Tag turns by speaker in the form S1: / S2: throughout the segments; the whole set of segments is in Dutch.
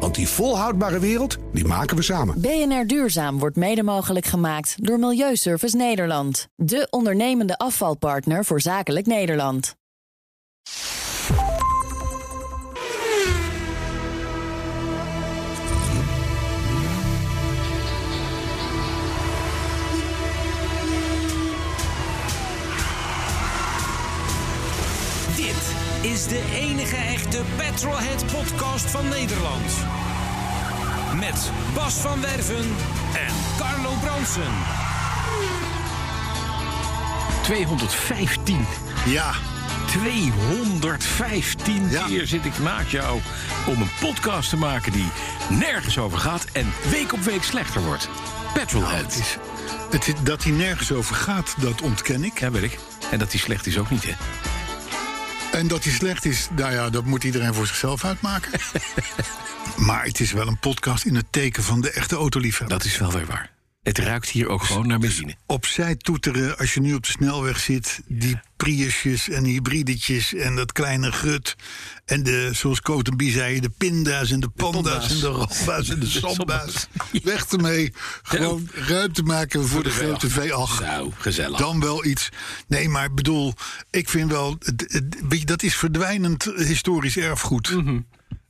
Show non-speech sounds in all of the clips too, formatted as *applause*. S1: Want die volhoudbare wereld, die maken we samen.
S2: BNR Duurzaam wordt mede mogelijk gemaakt door Milieuservice Nederland. De ondernemende afvalpartner voor zakelijk Nederland.
S3: Dit is de enige echte Petrolhead podcast van Nederland. Met Bas van Werven en Carlo Bronsen.
S4: 215.
S5: Ja,
S4: 215
S5: Ja.
S4: keer zit ik naast jou om een podcast te maken die nergens over gaat en week op week slechter wordt. Petrolhead.
S5: is, het, is- dat hij nergens over gaat, dat ontken ik.
S4: ja, weet ik. En dat die slecht is ook niet, hè?
S5: En dat hij slecht is, nou ja, dat moet iedereen voor zichzelf *laughs* uitmaken. maar het is wel een podcast in het teken van de echte autoliefhebber.
S4: Dat is wel weer waar. Het ruikt hier ook gewoon naar benzine.
S5: Opzij toeteren als je nu op de snelweg zit. Die Priusjes en hybridetjes en dat kleine grut. En de, zoals Cotenby zei, de pinda's en de panda's
S4: panda's.
S5: en de ramba's en *laughs* de samba's. Weg ermee. Gewoon ruimte maken voor de grote V8.
S4: Nou, gezellig.
S5: Dan wel iets. Nee, maar ik bedoel, ik vind wel. het- het- weet je, Dat is verdwijnend historisch erfgoed.
S4: Mhm.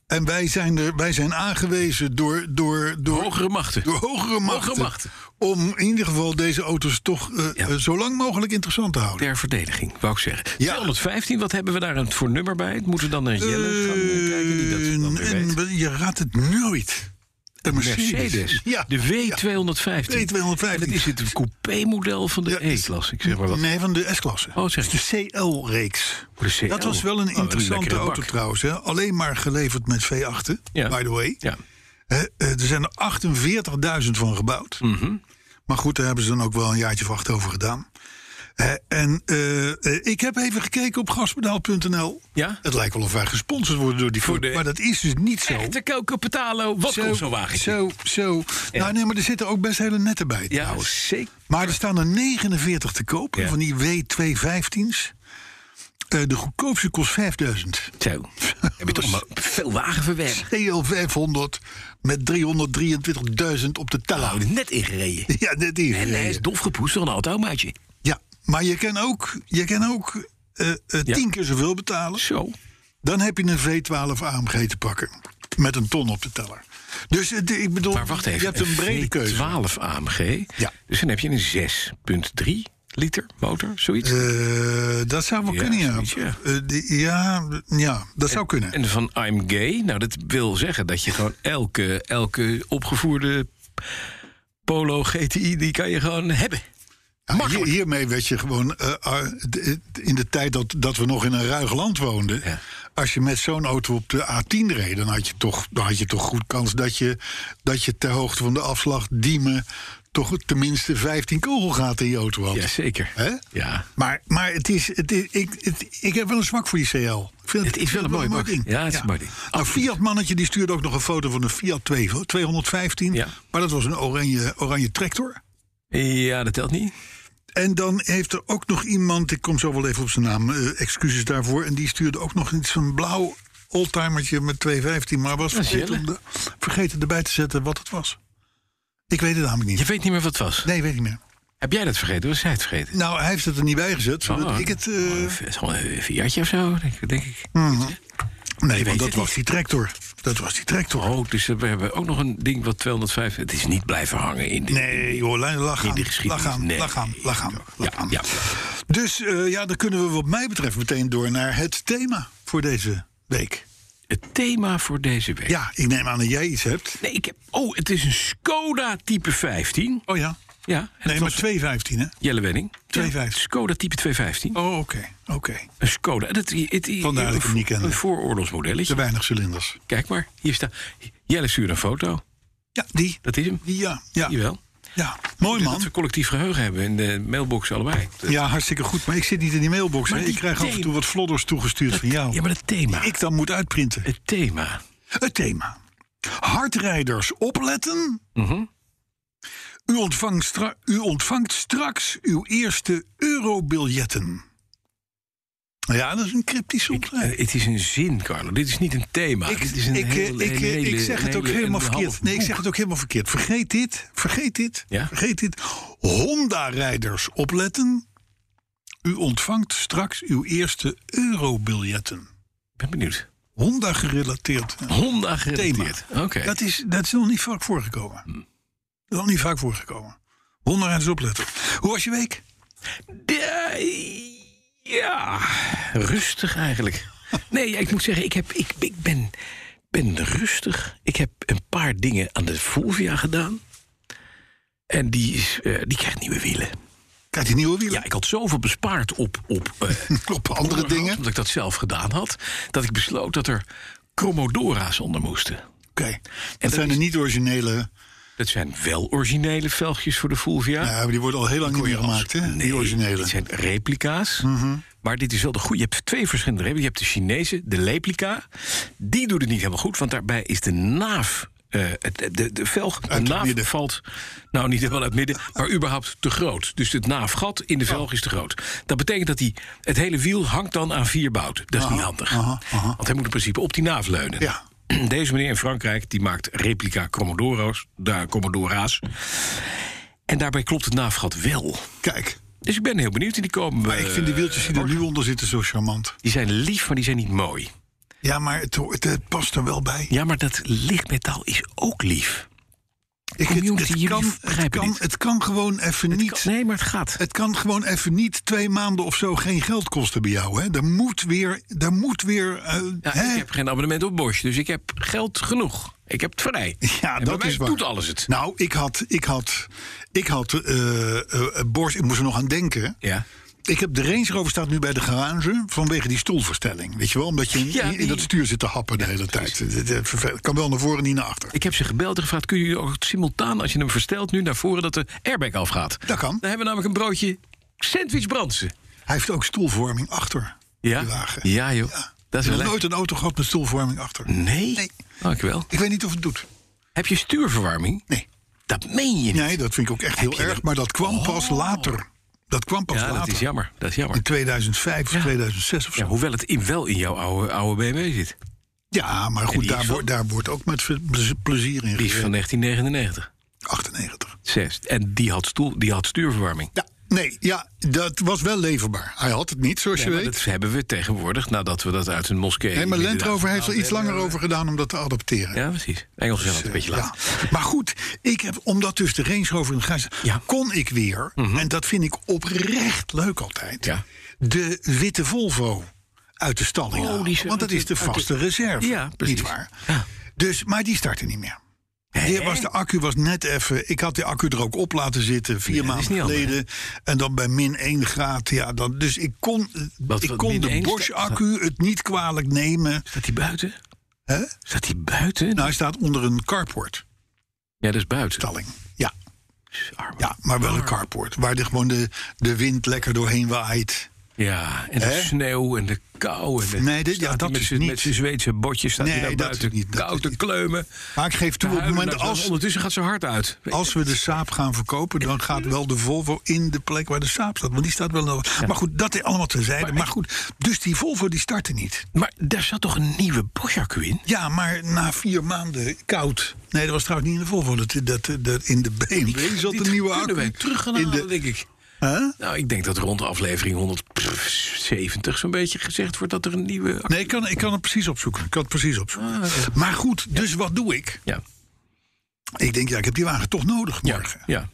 S5: En wij zijn, er, wij zijn aangewezen door, door, door,
S4: Hogere machten.
S5: door hogere machten.
S4: machten.
S5: Om in ieder geval deze auto's toch eh,
S4: Ja.
S5: eh, zo lang mogelijk interessant te houden.
S4: Ter verdediging, wou ik zeggen.
S5: Ja.
S4: 215, wat hebben we daar een- voor nummer bij? Moeten we dan naar Jelle gaan eh, kijken die dat dan weer
S5: Eh, en
S4: weet?
S5: we- je raadt het nooit. Een Mercedes.
S4: Mercedes.
S5: Ja.
S4: De W215.
S5: W215.
S4: En dat is het coupé-model van de
S5: Ja,
S4: E-klasse. Ik zeg maar wat.
S5: Nee, van de S-klasse.
S4: Oh, zeg
S5: Dus de CL-reeks.
S4: De CL.
S5: Dat was wel
S4: Oh,
S5: een
S4: dat is een
S5: interessante
S4: lekkere
S5: auto
S4: bak.
S5: trouwens. Hè? Alleen maar geleverd met V8,
S4: Ja.
S5: by the way.
S4: Ja.
S5: Hè, eh, er zijn er 48.000 van gebouwd.
S4: Mhm.
S5: Maar goed, daar hebben ze dan ook wel een jaartje of acht over gedaan. Hè, en eh, eh, ik heb even gekeken op gaspedaal.nl.
S4: Ja?
S5: Het lijkt wel of wij gesponsord worden door die
S4: Voor
S5: Voor
S4: de-
S5: Maar dat is dus niet zo.
S4: Echte Coco Patalo, wat
S5: zo,
S4: komt zo'n wagentje?
S5: zo, zo. Nou nee, maar er zitten ook best hele netten bij
S4: ja,
S5: trouwens.
S4: zeker.
S5: Maar er staan er 49 te koop
S4: Ja.
S5: van die W215's. Eh, de goedkoopste kost 5000. *laughs*
S4: Zo. Heb je toch maar veel wagen verwerkt?
S5: TL 500 met 323.000 op de teller.
S4: Houden net ingereden.
S5: *laughs* Ja, net hier.
S4: En hij is dof gepoest door een automaatje.
S5: Ja, maar je kan ook, je kan ook eh, eh, tien keer zoveel betalen.
S4: Zo.
S5: Dan heb je een V12 AMG te pakken. Met een ton op de teller. Dus het- ik bedoel,
S4: Maar wacht even.
S5: je hebt een brede keuze.
S4: 12 AMG.
S5: Ja.
S4: Dus dan heb je een 6,3 liter motor, zoiets.
S5: Eh, dat zou wel
S4: Ja,
S5: kunnen, ja.
S4: zoiets, ja.
S5: Eh, die- ja, ja, dat zou kunnen.
S4: En van I'm gay, nou dat wil zeggen dat je gewoon elke, elke opgevoerde Polo GTI, die kan je gewoon hebben.
S5: Ja, hier- hiermee werd je gewoon, eh, ah, d- d- in de tijd dat, dat we nog in een ruig land woonden...
S4: Ja.
S5: als je met zo'n auto op de A10 reed... dan had je toch, dan had je toch goed kans dat je, dat je ter hoogte van de afslag Diemen... toch tenminste 15 kogelgaten in je auto had.
S4: Jazeker.
S5: Hè?
S4: Ja.
S5: Maar, maar het is, het is, ik, het- ik heb wel een zwak voor die CL. Ik vind
S4: Het is wel een mooi bak. Ja, het is een mooi ding.
S5: Een Fiat-mannetje Nou, die stuurde ook nog een foto van een Fiat 2 215.
S4: Ja.
S5: Maar dat was een oranje, oranje tractor.
S4: Ja, dat telt niet.
S5: En dan heeft er ook nog iemand, ik kom zo wel even op zijn naam, eh, excuses daarvoor. En die stuurde ook nog iets van blauw oldtimertje met 215. Maar was
S4: Dat is
S5: vergeten, om
S4: Jelle.
S5: de, vergeten erbij te zetten wat het was. Ik weet het namelijk
S4: Je
S5: niet.
S4: weet niet meer wat het was.
S5: Nee, weet ik niet meer.
S4: Heb jij dat vergeten? Was zij het vergeten?
S5: Nou, hij heeft het er niet bij gezet, zodat
S4: Oh,
S5: ik het... eh,
S4: Het is gewoon een Fiatje of zo, denk, ik- denk ik.
S5: nee,
S4: weet
S5: want dat
S4: het
S5: was
S4: niet.
S5: die tractor. Dat was die tractor.
S4: Oh, dus we hebben ook nog een ding wat 205... Het is niet blijven hangen in de...
S5: Nee, joh, la- lach
S4: In
S5: aan,
S4: de geschiedenis,
S5: lach aan,
S4: nee.
S5: lach aan, lach aan, lach
S4: Ja,
S5: aan.
S4: ja.
S5: Dus eh, ja, dan kunnen we wat mij betreft meteen door naar het thema voor deze week.
S4: Het thema voor deze week.
S5: Ja, ik neem aan dat jij iets hebt.
S4: Nee, ik heb... Oh, het is een Skoda type 15.
S5: Oh ja.
S4: Ja. en het
S5: Nee, maar
S4: was
S5: 215 hè?
S4: Jelle Wenning.
S5: 2,5.
S4: Skoda type 215.
S5: Oh, oké, oké.
S4: Een Skoda. Dat, het, het-
S5: Vandaar dat ik hem niet kende.
S4: Een vooroorlogsmodelletje.
S5: Te weinig cilinders.
S4: Kijk maar, hier staat... Jelle stuurt een foto.
S5: Ja, die.
S4: Dat is hem.
S5: Die, ja, ja.
S4: Jawel.
S5: Ja, mooi man.
S4: Dat we collectief geheugen hebben in de mailbox allebei. Dat-
S5: Ja, hartstikke goed. Maar ik zit niet in die mailbox.
S4: Maar
S5: hè.
S4: die
S5: Ik krijg af en
S4: thema-
S5: toe wat flodders toegestuurd van jou.
S4: Ja, maar het thema.
S5: Die ik dan moet uitprinten.
S4: Het thema.
S5: Het thema. Hardrijders opletten.
S4: Mhm.
S5: u, ontvangt stra- u ontvangt straks uw eerste eurobiljetten. Ja, dat is een cryptische omschrijving.
S4: Eh, Het is een zin, Carlo. Dit is niet een thema.
S5: Ik,
S4: Dit is een
S5: ik, eh,
S4: heel-
S5: ik,
S4: een
S5: ik,
S4: hele-
S5: zeg
S4: een
S5: het ook
S4: hele-
S5: helemaal
S4: een
S5: verkeerd.
S4: half
S5: Nee, ik
S4: boek.
S5: zeg het ook helemaal verkeerd. Vergeet dit, vergeet dit,
S4: Ja?
S5: vergeet dit. Honda-rijders opletten. U ontvangt straks uw eerste eurobiljetten.
S4: Ik ben benieuwd.
S5: Honda-gerelateerd eh,
S4: Honda
S5: thema.
S4: gerelateerd. Oké. Hm.
S5: Dat, is, dat is nog niet vaak voorgekomen. Dat is nog niet vaak voorgekomen. Honda-rijders opletten. Hoe was je week?
S4: De- ja, rustig eigenlijk. Nee, ja, ik moet zeggen, ik, heb, ik, ik ben, ben rustig. Ik heb een paar dingen aan de Fulvia gedaan. En die, is, eh, die krijgt nieuwe wielen.
S5: Kijk, die nieuwe wielen.
S4: Ja, ik had zoveel bespaard op, op eh,
S5: *laughs* Klopt, andere
S4: onderhoud,
S5: dingen. Oké.
S4: Omdat ik dat zelf gedaan had. Dat ik besloot dat er Chromodora's onder moesten.
S5: Dat zijn de niet originele.
S4: Dat zijn wel originele velgjes voor de Fulvia.
S5: Ja, maar die worden al heel lang niet meer gemaakt, hè?
S4: Nee,
S5: die originele. Mhm.
S4: dit zijn replica's. Maar dit is wel de goede. Je hebt twee verschillende replica's. Je hebt de Chinese, de replica. Die doet het niet helemaal goed, want daarbij is de naaf... eh, het- de, de, de velg, de
S5: het
S4: naaf
S5: midden.
S4: valt, nou niet helemaal uit het midden, maar überhaupt te groot. Dus het naafgat in de velg is te groot. Dat betekent dat die, het hele wiel hangt dan aan vier bout. Dat is niet handig.
S5: aha, aha.
S4: Want hij moet in principe op die naaf leunen.
S5: Ja.
S4: *clears throat* Deze meneer in Frankrijk die maakt replica Commodoro's, daar Commodora's. En daarbij klopt het naafgat wel.
S5: Kijk.
S4: Dus ik ben heel benieuwd. En die komen. eh,
S5: Maar ik vind die wieltjes die er nu onder zitten zo charmant.
S4: Die zijn lief, maar die zijn niet mooi.
S5: Ja, maar het, ho- het, het past er wel bij.
S4: Ja, maar dat lichtmetaal is ook lief.
S5: Ik, het,
S4: community,
S5: het,
S4: jullie
S5: kan, het,
S4: begrijpen
S5: kan,
S4: dit.
S5: het kan gewoon even niet.
S4: Nee, maar het gaat.
S5: Het kan gewoon even niet twee maanden of zo geen geld kosten bij jou. Hè? Er moet weer. Er moet weer eh,
S4: Ja,
S5: hè?
S4: ik heb geen abonnement op Bosch, dus ik heb geld genoeg. Ik heb het vrij.
S5: Ja,
S4: En bij
S5: dat
S4: mij
S5: is waar.
S4: doet alles het.
S5: Nou, ik had. Ik had. Ik had. eh, eh, eh, Bosch, ik moest er nog aan denken.
S4: Ja.
S5: Ik heb de Range Rover staat nu bij de garage vanwege die stoelverstelling. Weet je wel? Omdat je in,
S4: Ja,
S5: in- in
S4: die-
S5: dat stuur zit te happen de hele tijd. Het- het- vervelend. Kan wel naar voren en niet naar achter.
S4: Ik heb ze gebeld en gevraagd: kun je ook simultaan, als je hem verstelt, nu naar voren dat de airbag afgaat?
S5: Dat kan.
S4: Dan hebben we namelijk een broodje sandwich brandsen.
S5: Hij heeft ook stoelvorming achter die wagen.
S4: Ja, joh. Dat is
S5: Ik
S4: wel
S5: heb
S4: leuk.
S5: nooit een auto gehad met stoelvorming achter.
S4: Nee.
S5: Nee.
S4: Dankjewel.
S5: Ik weet niet of het doet.
S4: Heb je stuurverwarming?
S5: Nee.
S4: Dat meen je niet.
S5: Nee, dat vind ik ook echt heel
S4: je
S5: erg.
S4: dat- Oh.
S5: Maar dat kwam pas later. Dat kwam pas
S4: ja,
S5: later.
S4: dat is jammer. Dat is jammer.
S5: In 2005 of 2006 of zo.
S4: Ja,
S5: Ja,
S4: hoewel het in, wel in jouw oude, oude BMW zit.
S5: maar
S4: En
S5: goed,
S4: die
S5: daar,
S4: is
S5: wordt, daar wordt ook met ve- plez- plezier in
S4: Brief van
S5: gereden.
S4: 1999.
S5: 98.
S4: Zes. En die had, stoel, die had stuurverwarming.
S5: Ja, nee, ja, dat was wel leverbaar. Hij had het niet, zoals
S4: Ja,
S5: je
S4: maar
S5: weet.
S4: dat hebben we tegenwoordig nadat we dat uit een moskee.
S5: Nee, maar Land
S4: inderdaad-
S5: Rover heeft er iets langer over gedaan om dat te adopteren.
S4: Ja, precies. Engels is altijd een beetje laat.
S5: Ja. Maar goed, ik heb, omdat dus de Range Rover in de garage staat,
S4: Ja. Mhm.
S5: kon ik weer, en dat vind ik oprecht leuk altijd,
S4: Ja.
S5: de witte Volvo uit de stalling
S4: Oh,
S5: halen.
S4: die is
S5: Want dat
S4: uit
S5: is
S4: de-
S5: de
S4: uit de-
S5: vaste reserve,
S4: Ja, precies.
S5: niet waar?
S4: Ja.
S5: Dus, maar die startte niet meer. Die was, de accu was net even. Ik had de accu er ook op laten zitten vier
S4: dat is
S5: maanden
S4: niet handig,
S5: geleden. En dan bij min 1 graad. Ja, dan, dus ik kon,
S4: Wat-
S5: ik
S4: wat
S5: kon
S4: min
S5: de
S4: één sta-
S5: Bosch-accu het niet kwalijk nemen.
S4: Staat die buiten?
S5: Hè?
S4: Staat die buiten?
S5: Nou, hij staat onder een carportstalling.
S4: ja, dat is buiten. Dus
S5: Ja,
S4: Arme.
S5: ja, maar wel een carport. Waar de, gewoon de, de wind lekker doorheen waait.
S4: Ja, en de
S5: Hè?
S4: sneeuw en de kou. En de,
S5: Nee, dit- ja,
S4: staat hij
S5: dat
S4: met
S5: dus
S4: zijn-
S5: niet.
S4: Met zijn Zweedse botjes staat
S5: Nee,
S4: hij daar
S5: dat
S4: buiten.
S5: dus niet, dat
S4: koud
S5: dus
S4: te
S5: niet.
S4: kleumen.
S5: Maar ik geef toe, op het
S4: Huilen
S5: moment
S4: naar het
S5: als,
S4: land. Ondertussen gaat ze hard uit.
S5: als we de Saab gaan verkopen... dan gaat wel de Volvo in de plek waar de Saab staat. Want die staat wel... nog- Maar goed, dat is allemaal terzijde. Maar goed, dus die Volvo die startte niet.
S4: Maar daar zat toch een nieuwe Bosch-accu in?
S5: Ja, maar na vier maanden koud... Nee, dat was trouwens niet in de Volvo. Dat, dat, dat, in de BMW zat
S4: Dit
S5: een nieuwe
S4: kunnen wij
S5: accu.
S4: terug gaan
S5: in
S4: halen,
S5: de,
S4: denk ik.
S5: Hè?
S4: Nou, ik denk dat rond aflevering 170 zo'n beetje gezegd wordt dat er een nieuwe...
S5: Nee, ik kan, ik kan het precies opzoeken. Ik kan het precies opzoeken. Maar goed, dus wat doe ik?
S4: Ja,
S5: Ik denk, ja, ik heb die wagen toch nodig
S4: ja,
S5: morgen.
S4: ja.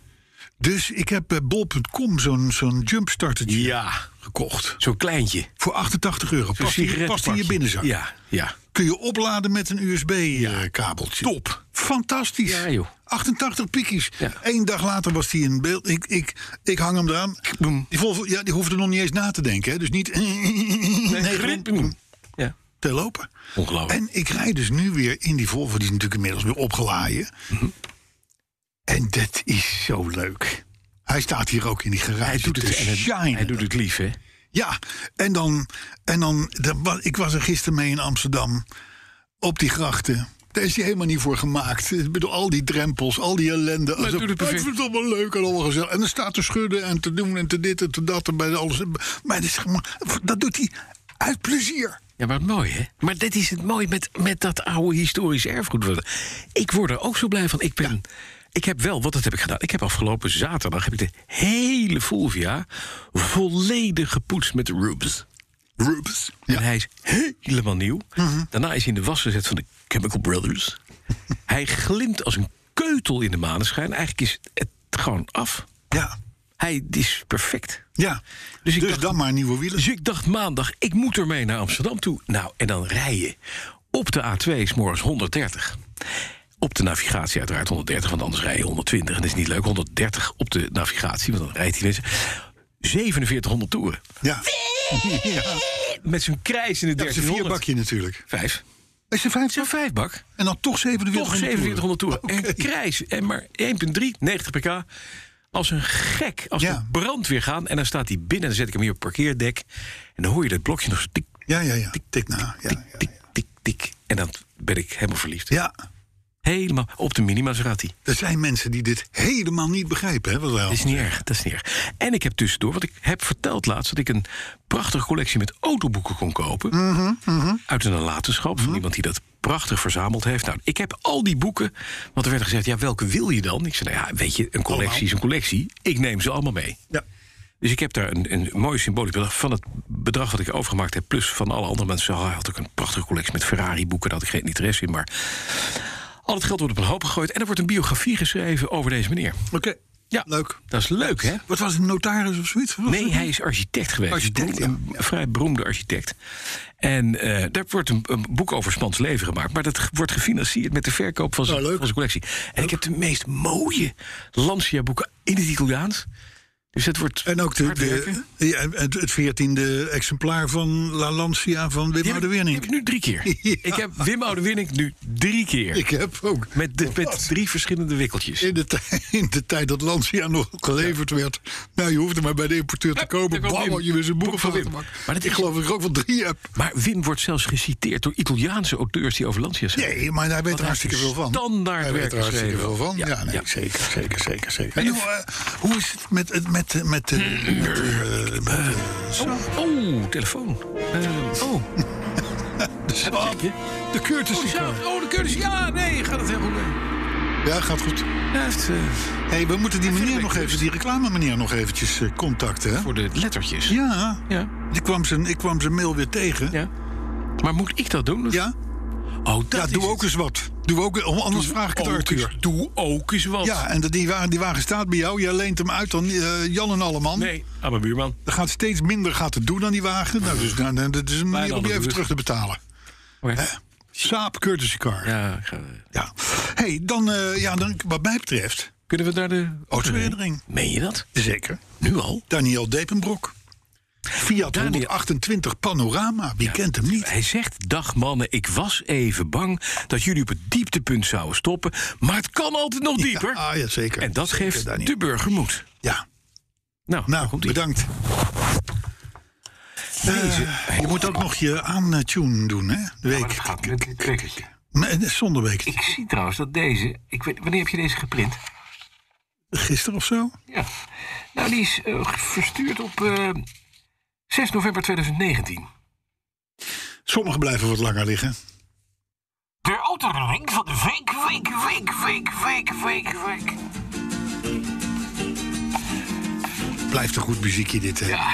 S5: Dus ik heb bij bol.com zo'n zo'n jumpstartertje
S4: Ja,
S5: gekocht.
S4: zo'n kleintje.
S5: Voor 88 euro.
S4: Zo'n
S5: Past in, past in je
S4: sigarettenpakje.
S5: binnenzak.
S4: Ja, ja.
S5: Kun je opladen met een USB-kabeltje. Top. Fantastisch.
S4: Ja, joh.
S5: 88 pikjes.
S4: Ja.
S5: Eén dag later was die in beeld. Ik, ik, ik hang hem eraan.
S4: Boem.
S5: Die, Volvo, ja, die hoefde nog niet eens na te denken. Hè. Dus niet... *laughs* Nee, gewoon
S4: Boem. Ja,
S5: te lopen.
S4: ongelooflijk. Mhm.
S5: En ik rijd dus nu weer in die Volvo. Die is natuurlijk inmiddels weer opgelaaien. En dat is zo leuk. Hij staat hier ook in die garage.
S4: Hij doet het,
S5: te
S4: en het-
S5: shinen.
S4: hij doet het lief, hè?
S5: Ja, en dan. En dan dat wa- ik was er gisteren mee in Amsterdam. Op die grachten. Daar is hij helemaal niet voor gemaakt. Ik bedoel, al die drempels, al die ellende. Alsof- "Ah,
S4: doet het
S5: ik
S4: perfect."
S5: vind het allemaal leuk en allemaal gezellig. En dan staat te schudden en te doen en te dit en te dat. En bij alles. Maar dat, is gewoon- dat doet hij uit plezier.
S4: Ja, maar mooi, hè? Maar dit is het mooie met, met dat oude historisch erfgoed. Want Ik word er ook zo blij van. Ik ben... Ik heb wel, wat dat heb ik gedaan. Ik heb afgelopen zaterdag heb ik de hele Fulvia volledig gepoetst met Rubes.
S5: Rubens.
S4: En
S5: Ja.
S4: hij is helemaal nieuw. Daarna is hij in de was gezet van de Chemical Brothers. hij glimt als een keutel in de maneschijn. Eigenlijk is het gewoon af.
S5: Ja.
S4: Hij is perfect.
S5: ja.
S4: Dus
S5: Dus,
S4: ik dacht-
S5: dan maar nieuwe wielen.
S4: Dus ik dacht maandag, ik moet ermee naar Amsterdam toe. Nou, en dan rij je op de A2 is morgens 130. Op de navigatie uiteraard 130, want anders rij je 120. En dat is niet leuk, 130 op de navigatie, want dan rijdt hij mensen. 4700 toeren. *laughs*
S5: Ja. ja.
S4: Met zo'n krijs in de
S5: Dat is een
S4: 1300.
S5: vierbakje natuurlijk.
S4: Vijf.
S5: Is er
S4: Zo'n
S5: vijf?
S4: vijfbak.
S5: En dan toch 4700
S4: Toch 4700 toeren. En
S5: Oké.
S4: krijs. En maar 1,3, 90 pk. Als een gek. Als
S5: Ja.
S4: de brandweer gaan. En dan staat hij binnen. En dan zet ik hem hier op het parkeerdek. En dan hoor je dat blokje nog zo tik,
S5: Ja, ja, ja. Tik na. Ja,
S4: tik,
S5: ja,
S4: tik, tik, tik. En dan ben ik helemaal verliefd.
S5: ja.
S4: Helemaal op de minima gaat hij.
S5: Er zijn mensen die dit helemaal niet begrijpen, hè? Wat wel.
S4: Dat is niet erg, dat is niet erg. En ik heb tussendoor, want ik heb verteld laatst... dat ik een prachtige collectie met autoboeken kon kopen... uit een nalatenschap van iemand die dat prachtig verzameld heeft. Nou, ik heb al die boeken, want er werd gezegd... ja, welke wil je dan? Ik zei, nou ja, weet je, een collectie is een collectie. Ik neem ze allemaal mee.
S5: Ja.
S4: Dus ik heb daar een, een mooi symbolisch bedrag van het bedrag wat ik overgemaakt heb, plus van alle andere mensen. Hij had ook een prachtige collectie met Ferrari-boeken, daar had ik geen interesse in. Maar al het geld wordt op een hoop gegooid en er wordt een biografie geschreven over deze meneer.
S5: Oké.
S4: Ja,
S5: Leuk.
S4: Dat is leuk, hè?
S5: Wat was het, notaris of zoiets? Wat was
S4: Nee,
S5: het?
S4: hij is architect geweest.
S5: Architect,
S4: Beroemd- een vrij beroemde architect. En eh, daar wordt een, een boek over Spans leven gemaakt. Maar dat ge- wordt gefinancierd met de verkoop van zijn,
S5: Nou, leuk.
S4: van zijn collectie. En ik heb de meest mooie Lancia-boeken in het Italiaans. Dus dat wordt
S5: En ook de,
S4: hard werken.
S5: de, ja, het, het 14e exemplaar van La Lancia van Wim
S4: Die heb ik- die
S5: Oudewiernink.
S4: heb ik nu drie keer.
S5: *laughs* Ja.
S4: Ik heb Wim Oudewinnink nu drie keer.
S5: Ik heb ook.
S4: met, de- met drie verschillende wikkeltjes.
S5: In de, tij- *laughs* in de tijd dat Lancia nog geleverd werd. Nou, je hoefde maar bij de importeur te
S4: Hup,
S5: komen.
S4: daar kwam
S5: Bam,
S4: Wim.
S5: had je weer zijn boek
S4: Boek van
S5: van
S4: Wim. Maar
S5: Maar
S4: dat
S5: ik
S4: is-
S5: geloof dat ik er ook wel drie heb.
S4: Maar Wim wordt zelfs geciteerd door Italiaanse auteurs die over Lancia zijn.
S5: Nee, maar hij weet er
S4: hij
S5: hartstikke
S4: heeft
S5: veel van.
S4: standaard
S5: hij weet
S4: werk
S5: er hartstikke
S4: geschreven.
S5: veel van.
S4: Ja,
S5: Ja, nee,
S4: ja.
S5: zeker, zeker, zeker, zeker. En hoe, eh, hoe is het met het met eh, met, eh, met, eh, met, eh,
S4: Oh, oh, telefoon. Eh,
S5: *laughs*
S4: oh,
S5: de swap? De courtesy
S4: oh,
S5: car.
S4: oh, de cursus. Ja, nee, gaat het helemaal mee.
S5: Ja, gaat goed.
S4: Hij heeft eh,
S5: hey, we moeten die meneer
S4: ik
S5: nog even, die reclame meneer nog eventjes eh, contacten. Hè?
S4: voor de lettertjes.
S5: Ja.
S4: Ja.
S5: Ik kwam zijn ik kwam zijn mail weer tegen.
S4: Ja. Maar moet ik dat doen?
S5: Ja.
S4: Oh, dat
S5: Ja,
S4: is
S5: doe
S4: het.
S5: ook eens wat. Doe ook, eh, anders
S4: Doe
S5: vraag ik het
S4: ook
S5: Arthur.
S4: eens- Doe ook eens wat.
S5: Ja, en dat- die wagen, die wagen staat bij jou. Jij leent hem uit aan eh, Jan en Alleman.
S4: Nee, aan mijn buurman.
S5: Er gaat steeds minder gaat het doen aan die wagen. Nou, dus nou, nou, dat is een manier om
S4: andere
S5: die even
S4: buurt.
S5: terug te betalen.
S4: Oké.
S5: Saap courtesy car. Ja.
S4: Ja, ik ga-
S5: hey, dan, eh, ja, dan wat mij betreft...
S4: kunnen we daar de...
S5: Autoherinnering.
S4: Meen je dat?
S5: Zeker.
S4: Nu al?
S5: Daniel Depenbrock. Fiat
S4: Daniel-
S5: 128 Panorama. Wie kent hem niet?
S4: Hij zegt, dag mannen, ik was even bang dat jullie op het dieptepunt zouden stoppen. Maar het kan altijd nog dieper.
S5: Ja, ah, ja, zeker.
S4: en dat
S5: Zeker,
S4: geeft
S5: Daniel.
S4: de burger moed.
S5: Ja.
S4: Nou, daar
S5: Nou,
S4: komt ie.
S5: bedankt. Eh, je moet ook nog je aantune doen, hè? De week.
S4: gaat met een trekkertje.
S5: Nee, dat is zonder week.
S4: Ik zie trouwens dat deze... Ik weet, wanneer heb je deze geprint?
S5: Gisteren of zo?
S4: Ja. Nou, die is eh, verstuurd op eh, 6 november 2019.
S5: Sommige blijven wat langer liggen.
S4: De autoring van de week, week, week, week, week, week, week.
S5: Blijft een goed muziekje dit, hè?
S4: Ja.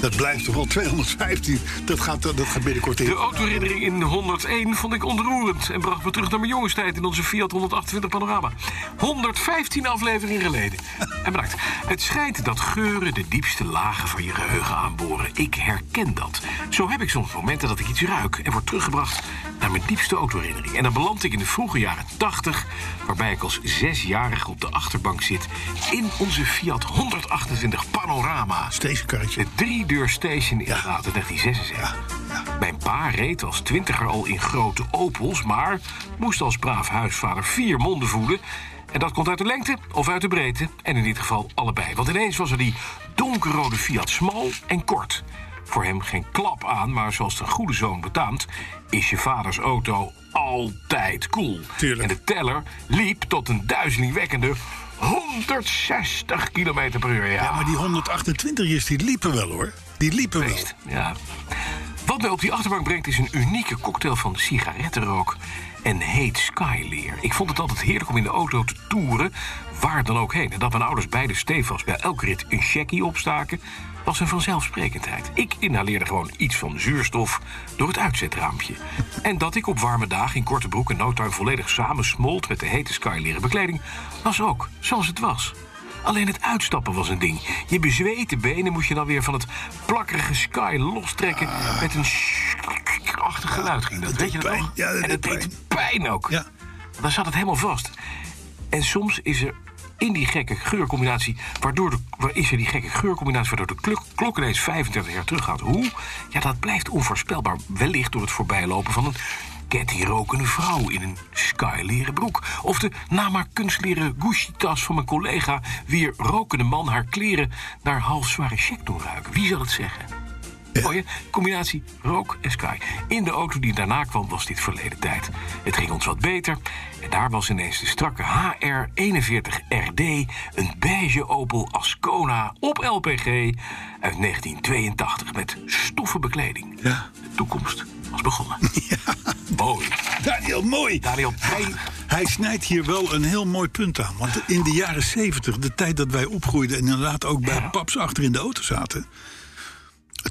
S5: Dat blijft toch al 215. Dat gaat, dat gaat binnenkort
S4: De
S5: in.
S4: autoherinnering in 101 vond ik ontroerend en bracht me terug naar mijn jongenstijd in onze Fiat 128 Panorama. 115 afleveringen geleden. En bedankt. Het schijnt dat geuren de diepste lagen van je geheugen aanboren. Ik herken dat. Zo heb ik soms momenten dat ik iets ruik en word teruggebracht naar mijn diepste autoherinnering. En dan beland ik in de vroege jaren 80, waarbij ik als zesjarige op de achterbank zit in onze Fiat 128 Panorama.
S5: Steeds een karretje.
S4: De drie-deur station inderdaad, in 1976. Mijn pa reed als twintiger al in grote Opels... maar moest als braaf huisvader vier monden voeden...
S6: En dat komt uit de lengte of uit de breedte. En in dit geval allebei. Want ineens was er die donkerrode Fiat smal en kort. Voor hem geen klap aan, maar zoals de goede zoon betaamt... is je vaders auto altijd cool.
S5: Tuurlijk.
S6: En de teller liep tot een duizelingwekkende 160 km per uur. Ja,
S5: Ja, maar die 128 is, die liepen wel hoor. Die liepen wel.
S6: Beest, Ja. Wat mij op die achterbank brengt is een unieke cocktail van sigarettenrook en heet skyleer. Ik vond het altijd heerlijk om in de auto te toeren, waar dan ook heen. En dat mijn ouders beide stevast bij elke rit een checkie opstaken, was een vanzelfsprekendheid. Ik inhaleerde gewoon iets van zuurstof door het uitzetraampje. En dat ik op warme dagen in korte broek en no time volledig samensmolt met de hete skyleren bekleding, was ook zoals het was. Alleen het uitstappen was een ding. Je bezweette benen moest je dan weer van het plakkerige sky lostrekken. Met een achtig geluid ging dat.
S5: dat
S6: Weet je
S5: deed
S6: dat
S5: pijn.
S6: nog?
S5: Ja, dat
S6: en
S5: deed
S6: het deed pijn ook.
S5: Ja.
S6: Dan zat het helemaal vast. En soms is er in die gekke geurcombinatie... Waardoor de, waar is er die gekke geurcombinatie waardoor de klok, klok ineens 35 jaar terug gaat. Hoe? Ja, dat blijft onvoorspelbaar. Wellicht door het voorbijlopen van een kettingrokende vrouw in een skyleren broek. Of de na maar kunstleren Gucci-tas van mijn collega... weer rokende man haar kleren naar halfzware check doen ruiken. Wie zal het zeggen? Mooie combinatie rook en sky. In de auto die daarna kwam was dit verleden tijd. Het ging ons wat beter. En daar was ineens de strakke HR41RD... een beige Opel Ascona op LPG uit 1982 met stoffen bekleding.
S5: Ja.
S6: De toekomst was
S5: *laughs*
S6: begonnen. Mooi.
S5: Daniel, mooi.
S6: Daniel, wij-
S5: Hij snijdt hier wel een heel mooi punt aan. Want in de jaren 70, de tijd dat wij opgroeiden... en inderdaad ook bij paps achter in de auto zaten...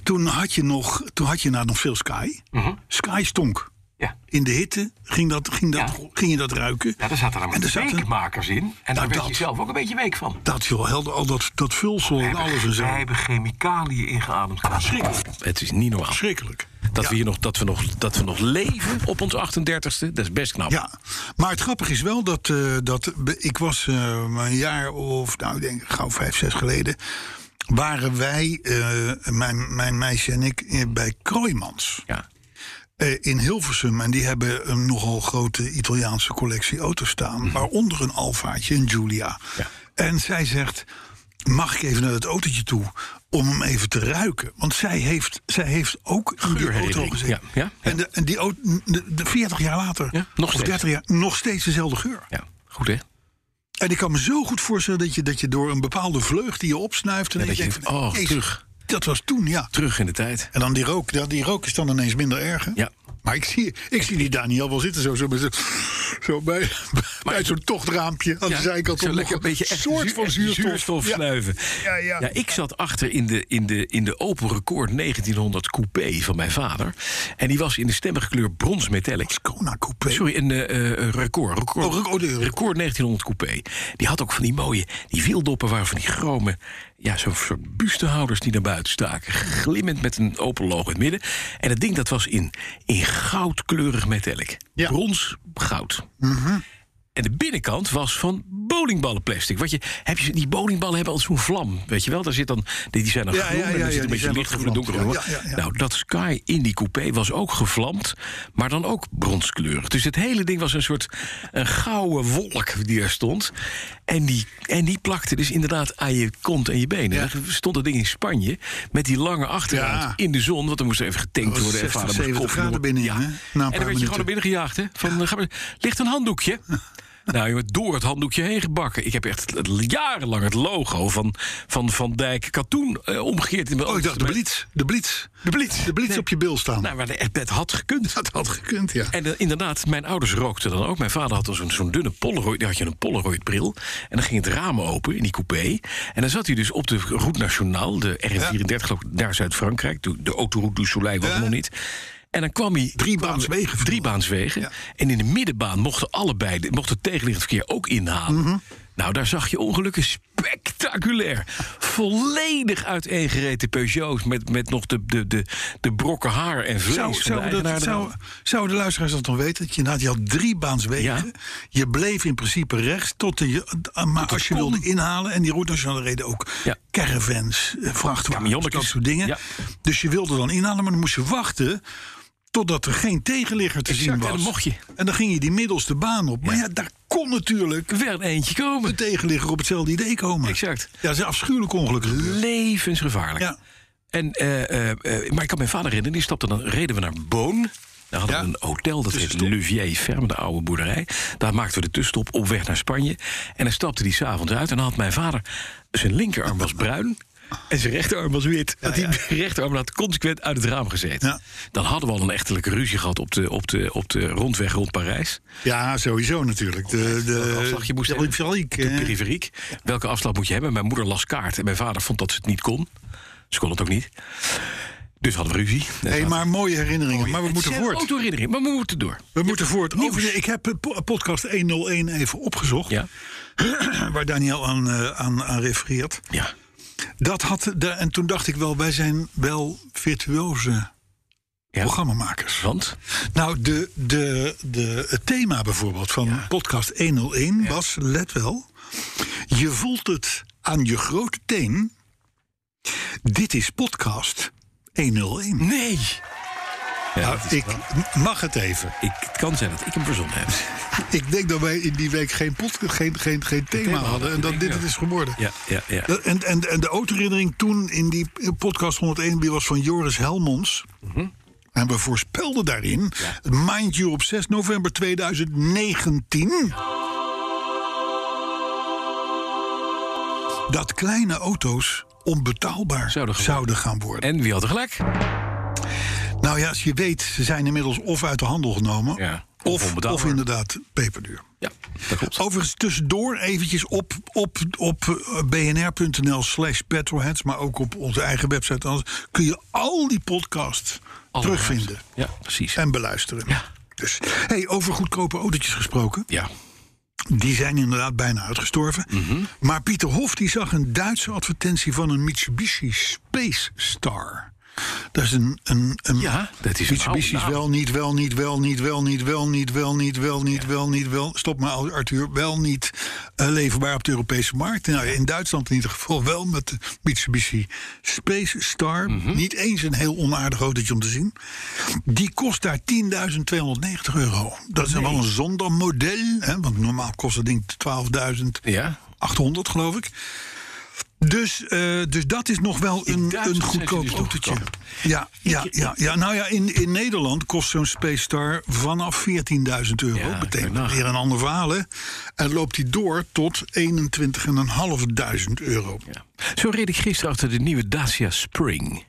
S5: toen had je, nog, toen had je nou nog veel Sky.
S6: Mhm.
S5: Sky stonk.
S6: Ja.
S5: In de hitte ging, dat, ging, dat,
S6: Ja.
S5: ging je dat ruiken.
S6: ja, daar zaten er maar
S5: En daar zaten-
S6: weekmakers in. En daar
S5: Nou,
S6: werd
S5: dat.
S6: je zelf ook een beetje week van.
S5: Dat joh, helder, al dat, dat vulsel en alles en zo.
S6: Wij hebben chemicaliën ingeademd.
S5: Schrikkelijk.
S4: Het is niet normaal.
S5: Schrikkelijk.
S4: Dat, we hier nog, dat, we nog, dat we nog leven op ons 38ste, dat is best knap.
S5: Ja, maar het grappige is wel dat, eh, dat be- ik was eh, maar een jaar of, nou ik denk gauw vijf, zes geleden, waren wij, eh, mijn, mijn meisje en ik, eh, bij Kroijmans
S4: Ja.
S5: eh, in Hilversum. En die hebben een nogal grote Italiaanse collectie auto's staan, waaronder een Alfaatje, een Giulia.
S4: Mhm. Ja.
S5: En zij zegt, mag ik even naar het autootje toe om hem even te ruiken? Want zij heeft, zij heeft ook in die auto
S4: Geurherinnering,
S5: gezeten.
S4: ja, ja, ja.
S5: En, de, en die auto, de, de 40 jaar later,
S4: Ja, nog
S5: of
S4: steeds.
S5: 30 jaar, nog steeds dezelfde geur.
S4: ja. Goed, hè?
S5: En ik kan me zo goed voorstellen dat je, dat je door een bepaalde vleug die je opsnuift... en
S4: Ja,
S5: dat je
S4: dat
S5: denkt,
S4: je
S5: van,
S4: denkt, oh,
S5: jezus,
S4: terug.
S5: dat was toen, ja.
S4: Terug in de tijd.
S5: En dan die rook, dat- die rook is dan ineens minder erg, hè?
S4: Ja.
S5: Maar ik zie, ik zie die Daniel wel zitten, zo, zo, met zo, zo bij, bij zo'n tochtraampje aan de zijkant.
S4: zo
S5: om
S4: lekker
S5: nog
S4: een beetje echt
S5: soort
S4: zuur-
S5: van
S4: echt
S5: zuurstof. Ja.
S4: snuiven.
S5: Ja, ja.
S4: ik zat achter in de, in, de, in de Opel Record 1900 coupé van mijn vader. En die was in de stemmige kleur brons metallic.
S5: Kona coupé.
S4: Sorry, een eh, eh, record. Record,
S5: nou, Oh, record, eh, record.
S4: Record 1900 coupé. Die had ook van die mooie, die wieldoppen waren van die chrome... ja, zo'n soort bustehouders die naar buiten staken. Glimmend met een open logo in het midden. En dat ding dat was in, in goudkleurig metallic.
S5: Ja. Mhm.
S4: Brons, goud. En de binnenkant was van bowlingballenplastic. Wat je, heb je, die bowlingballen hebben al zo'n vlam, weet je wel? Daar zit dan, die, die zijn dan
S5: Ja,
S4: groen
S5: ja, ja,
S4: en
S5: ja,
S4: daar zit
S5: die
S4: een beetje
S5: zijn wat
S4: lichtgroen en
S5: gevlamd.
S4: donkergroen.
S5: Ja, ja, ja.
S4: Nou, dat Sky in die coupé was ook gevlamd, maar dan ook bronskleurig. Dus het hele ding was een soort een gouden wolk die er stond. En die, en die plakte dus inderdaad aan je kont en je benen. Dan stond dat ding in Spanje met die lange achterruit
S5: Ja.
S4: in de zon... want dan moest er even getankt
S5: Dat was
S4: worden. en
S5: 60,
S4: vader moest
S5: 70
S4: koffie
S5: graden
S4: doen.
S5: binnenin, hè? Na een
S4: En dan
S5: paar
S4: werd je
S5: minuten.
S4: gewoon naar binnen gejaagd, hè? Van, eh, ga maar- ligt een
S5: *laughs*
S4: handdoekje. Nou, jongen, door het handdoekje heen gebakken. Ik heb echt jarenlang het logo van Van, van Dijk Katoen eh, omgekeerd in mijn
S5: Oh, ik
S4: ogen.
S5: dacht, de blitz. De blitz. De blitz. De blitz op je bil staan.
S4: Nou, maar het, het had gekund.
S5: dat had gekund, ja.
S4: En eh, inderdaad, mijn ouders rookten dan ook. Mijn vader had dan zo'n zo'n dunne Polaroid. Daar had je een Polaroid-bril. En dan ging het raam open in die coupé. En dan zat hij dus op de Route Nationale, de R34, geloof ik, naar Zuid-Frankrijk. De, de Autoroute du Soleil was
S5: Ja.
S4: er nog niet. En dan kwam hij.
S5: Drie baans
S4: kwam-
S5: wegen
S4: Drie
S5: vroeger.
S4: baanswegen.
S5: Ja.
S4: En in de middenbaan mochten allebei, de- mocht het tegenliggend verkeer ook inhalen.
S5: Mhm.
S4: Nou, daar zag je ongelukken spectaculair. Volledig uiteengereten Peugeots met, met nog de, de, de, de brokken haar en vlees
S5: Zou,
S4: van
S5: zou,
S4: de
S5: dat-
S4: eigenaar
S5: zou,
S4: eraan.
S5: zouden de luisteraars dat dan weten? Dat je, inderdaad, je had drie baanswegen.
S4: Ja.
S5: Je bleef in principe rechts. Tot de, je- d- ah, maar als je wilde inhalen. En die route nationale reden ook.
S4: Ja.
S5: Caravans, eh, vrachtwagens,
S4: Camionnetjes.
S5: dat soort dingen.
S4: Ja.
S5: Dus je wilde dan inhalen. Maar dan moest je wachten. Totdat er geen tegenligger te
S4: Exact,
S5: zien
S4: en
S5: was.
S4: dan mocht je.
S5: En dan ging je die middelste baan op. Maar ja, daar kon natuurlijk
S4: Werd eentje
S5: de
S4: komen.
S5: tegenligger op hetzelfde idee komen.
S4: Exact.
S5: Ja, dat is een afschuwelijk ongeluk. gebeurd.
S4: Levensgevaarlijk.
S5: Ja.
S4: En, eh, eh, eh, maar ik kan mijn vader herinneren, die stapte dan, reden we naar Boon. Daar hadden
S5: Ja.
S4: we een hotel, dat heet Luvier Ferme, de oude boerderij. Daar maakten we de tussenstop op weg naar Spanje. En dan stapte die s'avonds uit en dan had mijn vader... zijn linkerarm was
S5: *laughs*
S4: bruin en zijn rechterarm was wit. Want die rechterarm had consequent uit het raam gezeten.
S5: Ja.
S4: Dan hadden we al een echtelijke ruzie gehad op de, op de, op de rondweg rond Parijs.
S5: Ja, sowieso natuurlijk. De, de,
S4: Welke afslag je moest
S5: de
S4: hebben.
S5: Olympialiek,
S4: De
S5: eh,
S4: periferiek. Welke afslag moet je hebben? Mijn moeder las kaart en mijn vader vond dat ze het niet kon. Ze kon het ook niet. Dus hadden we ruzie.
S5: Hé, maar mooie herinneringen. maar we moeten voort.
S4: Autoherinnering, maar we moeten door.
S5: We moeten voort. Overigens, ik heb eh, po- podcast 101 even opgezocht.
S4: Ja.
S5: Waar Daniel aan, eh, aan, aan refereert.
S4: Ja.
S5: Dat had de, en toen dacht ik wel, wij zijn wel virtuoze
S4: Ja.
S5: programmamakers.
S4: Want?
S5: Nou, de, de, de, het thema bijvoorbeeld van podcast 101 was, let wel... Je voelt het aan je grote teen. Dit is podcast 101.
S4: Nee.
S5: Nou, ik mag het even.
S4: Ik, het kan zijn dat ik hem verzonnen heb.
S5: *laughs* Ik denk dat wij in die week geen, pod, geen, geen, geen thema hadden. En dat
S4: Ik
S5: dit
S4: ook.
S5: het is geworden.
S4: Ja, ja, ja.
S5: Dat- En, en, en de autoherinnering toen in die podcast 101 die was van Joris Helmons.
S4: Mhm.
S5: En we voorspelden daarin, mind you, op 6 november 2019... dat kleine auto's onbetaalbaar
S4: Zouden gaan
S5: zouden gaan worden.
S4: En wie had er gelijk?
S5: Nou ja, als je weet, ze zijn inmiddels of uit de handel genomen...
S4: Ja, of
S5: of, of,
S4: onbetaalbaar.
S5: inderdaad peperduur.
S4: Ja, dat klopt.
S5: Overigens, tussendoor eventjes op, op, op eh, bnr.nl slash petrolheads... maar ook op onze eigen website. Anders kun je al die podcasts terugvinden
S4: Ja, precies.
S5: en beluisteren. Dus, hey, over goedkope autootjes gesproken.
S4: Ja.
S5: Die zijn inderdaad bijna uitgestorven.
S4: Mhm.
S5: Maar Pieter Hof die zag een Duitse advertentie van een Mitsubishi Space Star. Dat is een... een, een
S4: Ja, dat is een
S5: Mitsubishi is
S4: oude naam.
S5: wel niet, wel niet, wel niet, wel niet, wel niet, wel niet, wel niet, wel niet, wel... Stop maar, Arthur. Wel niet eh, leverbaar op de Europese markt. Nou, in Duitsland in ieder geval wel met de Mitsubishi Space Star.
S4: Mhm.
S5: Niet eens een heel onaardig autootje om te zien. Die kost daar 10.290 euro. Dat is wel een zondermodel. Hè, want normaal kost dat ding 12.800,
S4: Ja.
S5: geloof ik. Dus, eh, dus dat is nog wel een,
S4: Duitsland
S5: een
S4: zijn ze
S5: goedkoop
S4: dus nog
S5: autootje.
S4: goedkoop.
S5: Ja, ja, ja, ja, nou ja, in, in Nederland kost zo'n Space Star vanaf 14.000 euro.
S4: Ja,
S5: Betekent
S4: daarna.
S5: weer een ander verhaal, hè? En loopt die door tot 21.500 euro.
S4: ja. Zo reed ik gisteren achter de nieuwe Dacia Spring.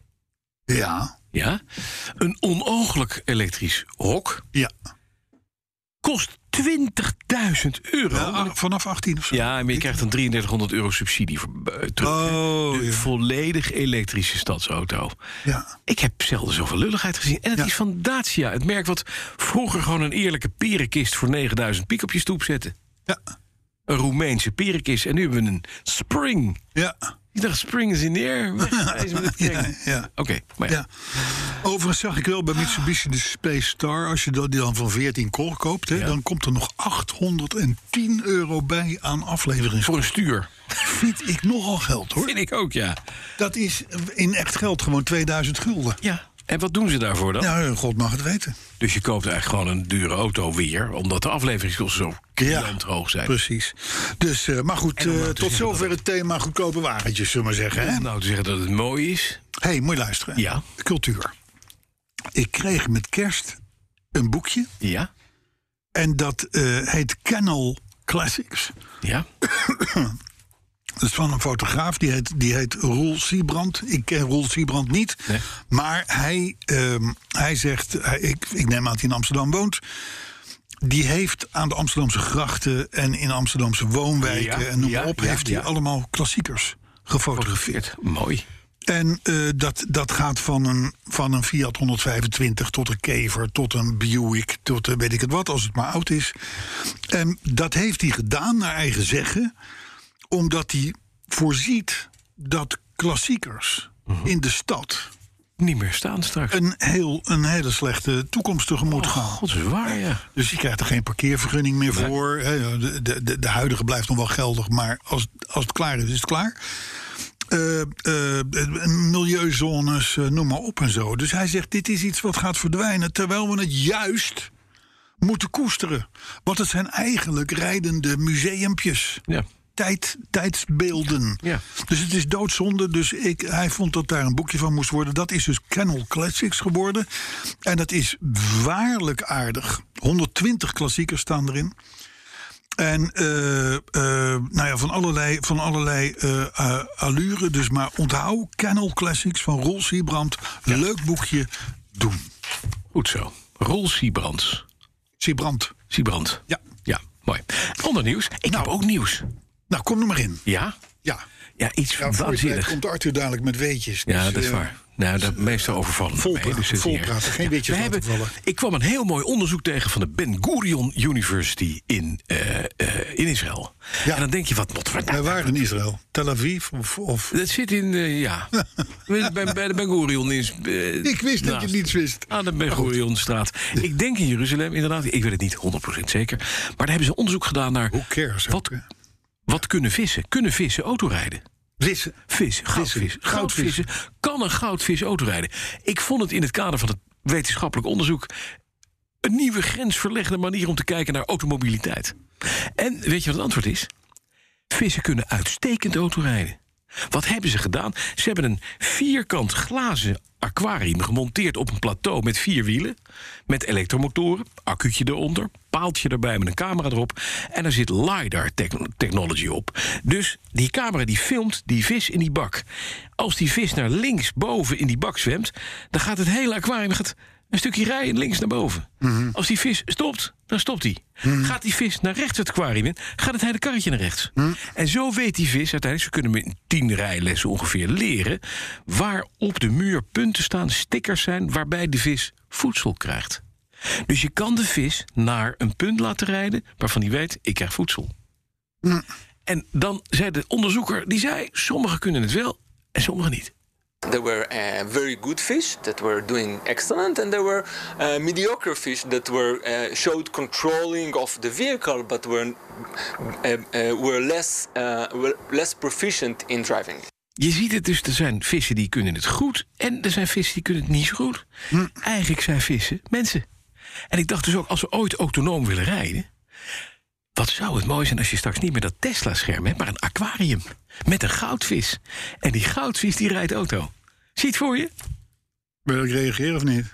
S5: Ja,
S4: Ja. Een onooglijk elektrisch hok.
S5: ja.
S4: Kost 20.000 euro.
S5: Ja, a- vanaf 18 of zo.
S4: Ja, maar je krijgt dan 3300 euro subsidie voor, eh, terug.
S5: Oh,
S4: Een
S5: ja.
S4: volledig elektrische stadsauto.
S5: Ja.
S4: Ik heb zelden zoveel lulligheid gezien. En het
S5: Ja.
S4: is van Dacia. Het merk wat vroeger gewoon een eerlijke perenkist... voor 9000 piek op je stoep zette.
S5: Ja.
S4: Een Roemeense perenkist. En nu hebben we een Spring.
S5: ja.
S4: Ik dacht, Spring is in de air. Weg, wees met het
S5: *laughs*
S4: ding.
S5: Ja, ja.
S4: Oké, maar ja.
S5: Ja. Overigens zag ik wel bij Mitsubishi de Space Star... als je dat- die dan van 14 kol koopt... Hè, dan komt er nog 810 euro bij aan aflevering.
S4: Voor een stuur.
S5: Vind ik nogal geld, hoor.
S4: Vind ik ook, ja.
S5: Dat is in echt geld gewoon 2000 gulden.
S4: Ja. En wat doen ze daarvoor dan?
S5: Nou, God mag het weten.
S4: Dus je koopt eigenlijk gewoon een dure auto weer... omdat de afleveringskosten zo krant hoog zijn.
S5: Precies. Dus, eh, maar goed,
S4: om
S5: eh,
S4: nou te
S5: tot
S4: zeggen
S5: zover het thema goedkope wagentjes, zullen we maar zeggen. Hé,
S4: Om nou te zeggen dat het mooi is...
S5: hey, moet je luisteren. hè?
S4: Ja.
S5: Cultuur. Ik kreeg met kerst een boekje.
S4: Ja.
S5: En dat eh, heet Kennel Classics.
S4: Ja.
S5: Dat is van een fotograaf, die heet, die heet Roel Siebrand. Ik ken Roel Siebrand niet.
S4: Nee.
S5: Maar hij, ehm, hij zegt, hij- ik, ik neem aan dat hij in Amsterdam woont... die heeft aan de Amsterdamse grachten en in Amsterdamse woonwijken...
S4: Ja,
S5: en noem
S4: ja,
S5: maar op,
S4: ja,
S5: heeft hij
S4: ja.
S5: allemaal klassiekers gefotografeerd.
S4: Geveerd. Mooi.
S5: En eh, dat, dat gaat van een, van een Fiat 125 tot een Kever, tot een Buick, tot eh, weet ik het wat, als het maar oud is. En dat heeft hij gedaan, naar eigen zeggen, omdat hij voorziet dat klassiekers in de stad
S4: Niet meer staan straks.
S5: een, heel, een hele slechte toekomst tegemoet gaan.
S4: God, dat is waar, ja.
S5: Dus je krijgt er geen parkeervergunning meer voor. hè. De, de, de, de huidige blijft nog wel geldig, maar als, als het klaar is, is het klaar. Eh, eh, eh, milieuzones, eh, noem maar op en zo. Dus hij zegt, dit is iets wat gaat verdwijnen... terwijl we het juist moeten koesteren. Want het zijn eigenlijk rijdende museumpjes.
S4: Ja.
S5: Tijd, tijdsbeelden.
S4: Ja.
S5: Dus het is doodzonde. Dus ik, hij vond dat daar een boekje van moest worden. Dat is dus Kennel Classics geworden. En dat is waarlijk aardig. 120 klassiekers staan erin. En eh, eh, nou ja, van allerlei, van allerlei eh, eh, allure. Dus maar onthoud Kennel Classics van Roel Siebrand. Leuk boekje. Doen.
S4: Goed zo. Rol Siebrand.
S5: Siebrand.
S4: Siebrand.
S5: Ja.
S4: Ja, mooi. Ander nieuws. Ik heb ook nieuws.
S5: Nou, kom er maar in.
S4: Ja?
S5: Ja.
S4: Ja, iets
S5: Ja, voor je tijd
S4: waanzinnig.
S5: komt Arthur dadelijk met weetjes.
S4: Ja,
S5: Dus,
S4: dat is
S5: eh,
S4: waar. Nou, dat meestal overvallen. me
S5: volpraten,
S4: mee, dus het
S5: volpraten,
S4: niet erg.
S5: geen weetjes
S4: we
S5: laten
S4: hebben-
S5: vallen.
S4: Ik kwam een heel mooi onderzoek tegen van de Ben Gurion University in, eh, eh, in Israël.
S5: Ja.
S4: En dan denk je, wat moet we
S5: Wij
S4: daar?
S5: waren in Israël. Tel Aviv of... of
S4: Dat zit in,
S5: *laughs*
S4: eh, ja. bij, bij bij de Ben Gurion is. eh,
S5: ik wist dat je het
S4: naast.
S5: niet wist.
S4: Aan de Ben Gurionstraat. Ik denk in Jeruzalem, inderdaad. Ik weet het niet 100% zeker. Maar daar hebben ze onderzoek gedaan naar.
S5: Who cares? ook,
S4: Wat,
S5: hè?
S4: wat kunnen vissen? Kunnen vissen autorijden?
S5: Wissen.
S4: Vissen, goudvissen.
S5: Vissen, goudvissen.
S4: Goudvissen. Kan een goudvis autorijden? Ik vond het in het kader van het wetenschappelijk onderzoek... een nieuwe grensverleggende manier om te kijken naar automobiliteit. En weet je wat het antwoord is? Vissen kunnen uitstekend autorijden. Wat hebben ze gedaan? Ze hebben een vierkant glazen aquarium gemonteerd op een plateau met vier wielen. Met elektromotoren, accu'tje eronder, paaltje erbij met een camera erop. En er zit LiDAR-technology op. Dus die camera die filmt die vis in die bak. Als die vis naar links boven in die bak zwemt, dan gaat het hele aquarium gaat een stukje rijden links naar boven. Als die vis stopt, dan stopt hij. Gaat die vis naar rechts het aquarium in, gaat het hele karretje naar rechts. En zo weet die vis uiteindelijk, ze kunnen hem in tien rijlessen ongeveer leren... waar op de muur punten staan, stickers zijn... waarbij de vis voedsel krijgt. Dus je kan de vis naar een punt laten rijden... waarvan hij weet, ik krijg voedsel. En dan zei de onderzoeker, die zei... sommigen kunnen het wel en sommigen niet.
S7: There were uh, very good fish that were doing excellent, and there were uh, mediocre fish that were uh, showed controlling of the vehicle, but were uh, uh, were less uh, were less proficient in driving.
S4: Je ziet het dus, er zijn vissen die kunnen het goed... en er zijn vissen die kunnen het niet zo goed.
S5: Hm.
S4: Eigenlijk zijn vissen mensen. En ik dacht dus ook, als we ooit autonoom willen rijden... wat zou het mooi zijn als je straks niet meer dat Tesla-scherm hebt... maar een aquarium met een goudvis. En die goudvis die rijdt auto. Ziet voor je?
S5: Wil ik reageren of niet?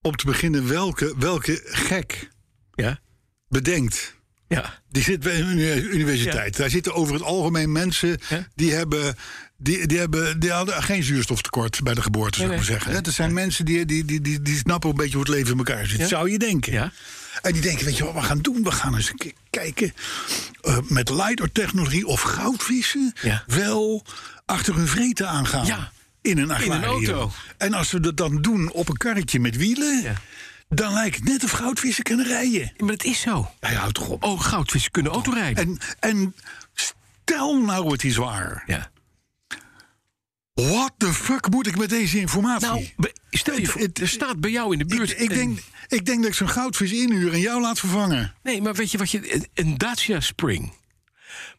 S5: Om te beginnen, welke, welke gek
S4: Ja.
S5: bedenkt...
S4: Ja.
S5: Die zit bij een uni- universiteit. Daar zitten over het algemeen mensen
S4: Ja.
S5: die hebben. Die, die, hebben, die hadden geen zuurstoftekort bij de geboorte, zou ik
S4: nee.
S5: maar zeggen. Dat zijn mensen die, die, die, die, die snappen een beetje hoe het leven in elkaar zit. Zou je denken.
S4: Ja.
S5: En die denken, weet je wat we gaan doen? We gaan eens een keer kijken eh, met LiDAR-technologie of goudvissen...
S4: Ja.
S5: wel achter hun vreten aangaan.
S4: Ja.
S5: In een aquarium.
S4: auto.
S5: En als we dat dan doen op een karretje met wielen...
S4: Ja.
S5: dan lijkt het net of goudvissen kunnen rijden.
S4: Maar het is zo.
S5: Ja, ja, houdt toch op.
S4: Oh, goudvissen kunnen autorijden.
S5: En, en stel nou het is waar.
S4: Ja.
S5: What the fuck moet ik met deze informatie?
S4: Nou, be- stel je
S5: Het-
S4: voor,
S5: het-
S4: er staat bij jou in de buurt...
S5: ik, ik,
S4: een-
S5: denk, ik denk dat ik zo'n goudvis inhuur en jou laat vervangen.
S4: Nee, maar weet je wat je. een- Een Dacia Spring.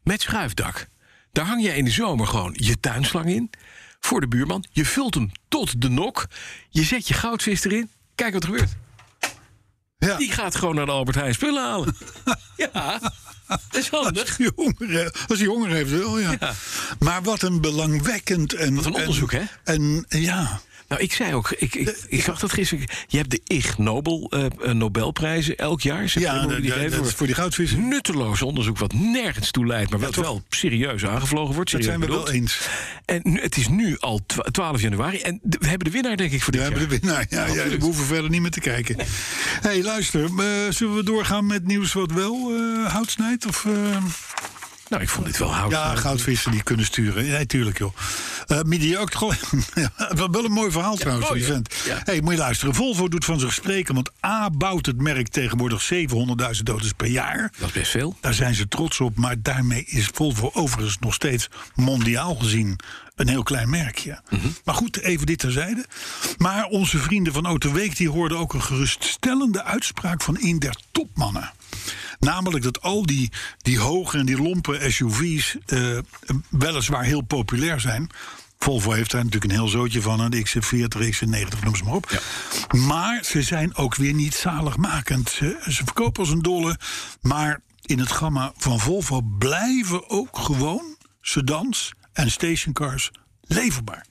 S4: Met schuifdak. Daar hang jij in de zomer gewoon je tuinslang in. Voor de buurman. Je vult hem tot de nok. Je zet je goudvis erin. Kijk wat er gebeurt.
S5: Ja.
S4: Die gaat gewoon naar de Albert Heijn spullen
S5: *laughs*
S4: halen. ja, dat is handig.
S5: Die honger, eh, als hij honger heeft, wel ja. Maar wat een belangwekkend en.
S4: Wat een
S5: en-
S4: onderzoek, hè?
S5: En ja.
S4: Nou, ik zei ook, ik, ik, ik zag dat gisteren. Je hebt de Ig Nobel eh, eh, Nobelprijzen elk jaar. Ze
S5: ja
S4: hebben die
S5: dat- dat- dat
S4: gegeven
S5: is
S4: voor- Hmm.
S5: voor die goudvissen.
S4: nutteloos onderzoek wat nergens toe leidt, maar wat
S5: toch?
S4: wel serieus aangevlogen wordt.
S5: Dat zijn
S4: serieus
S5: we wel
S4: bedoeld.
S5: eens.
S4: En nu, het is nu al twa- 12 januari en de- we hebben de winnaar denk ik voor
S5: We
S4: dit
S5: hebben de
S4: jaar.
S5: winnaar. Ja, ja, we hoeven verder niet meer te kijken. Hé, hey, luister. eh, zullen we doorgaan met nieuws wat wel eh, hout snijdt? Of. eh,
S4: Nou, ik vond dit wel hout.
S5: Ja, goudvissen die kunnen sturen. Nee, tuurlijk joh. Eh mediocre. gewoon- Ja, *laughs* wel een mooi verhaal trouwens
S4: mooi,
S5: van die vent.
S4: hè? Ja.
S5: hey, moet je luisteren. Volvo doet van zich spreken, want A bouwt het merk tegenwoordig 700.000 auto's per jaar.
S4: Dat is best veel.
S5: Daar zijn ze trots op, maar daarmee is Volvo overigens nog steeds mondiaal gezien een heel klein merkje. Maar goed, even dit terzijde. Maar onze vrienden van Autoweek die hoorden ook een geruststellende uitspraak van een der topmannen. Namelijk dat al die, die hoge en die lompe SUV's eh, weliswaar heel populair zijn, Volvo heeft daar natuurlijk een heel zootje van. Hè, de XC40, XC90, noem ze maar op. Maar ze zijn ook weer niet zaligmakend. Ze, ze verkopen als een dolle. Maar in het gamma van Volvo blijven ook gewoon sedans en stationcars leverbaar.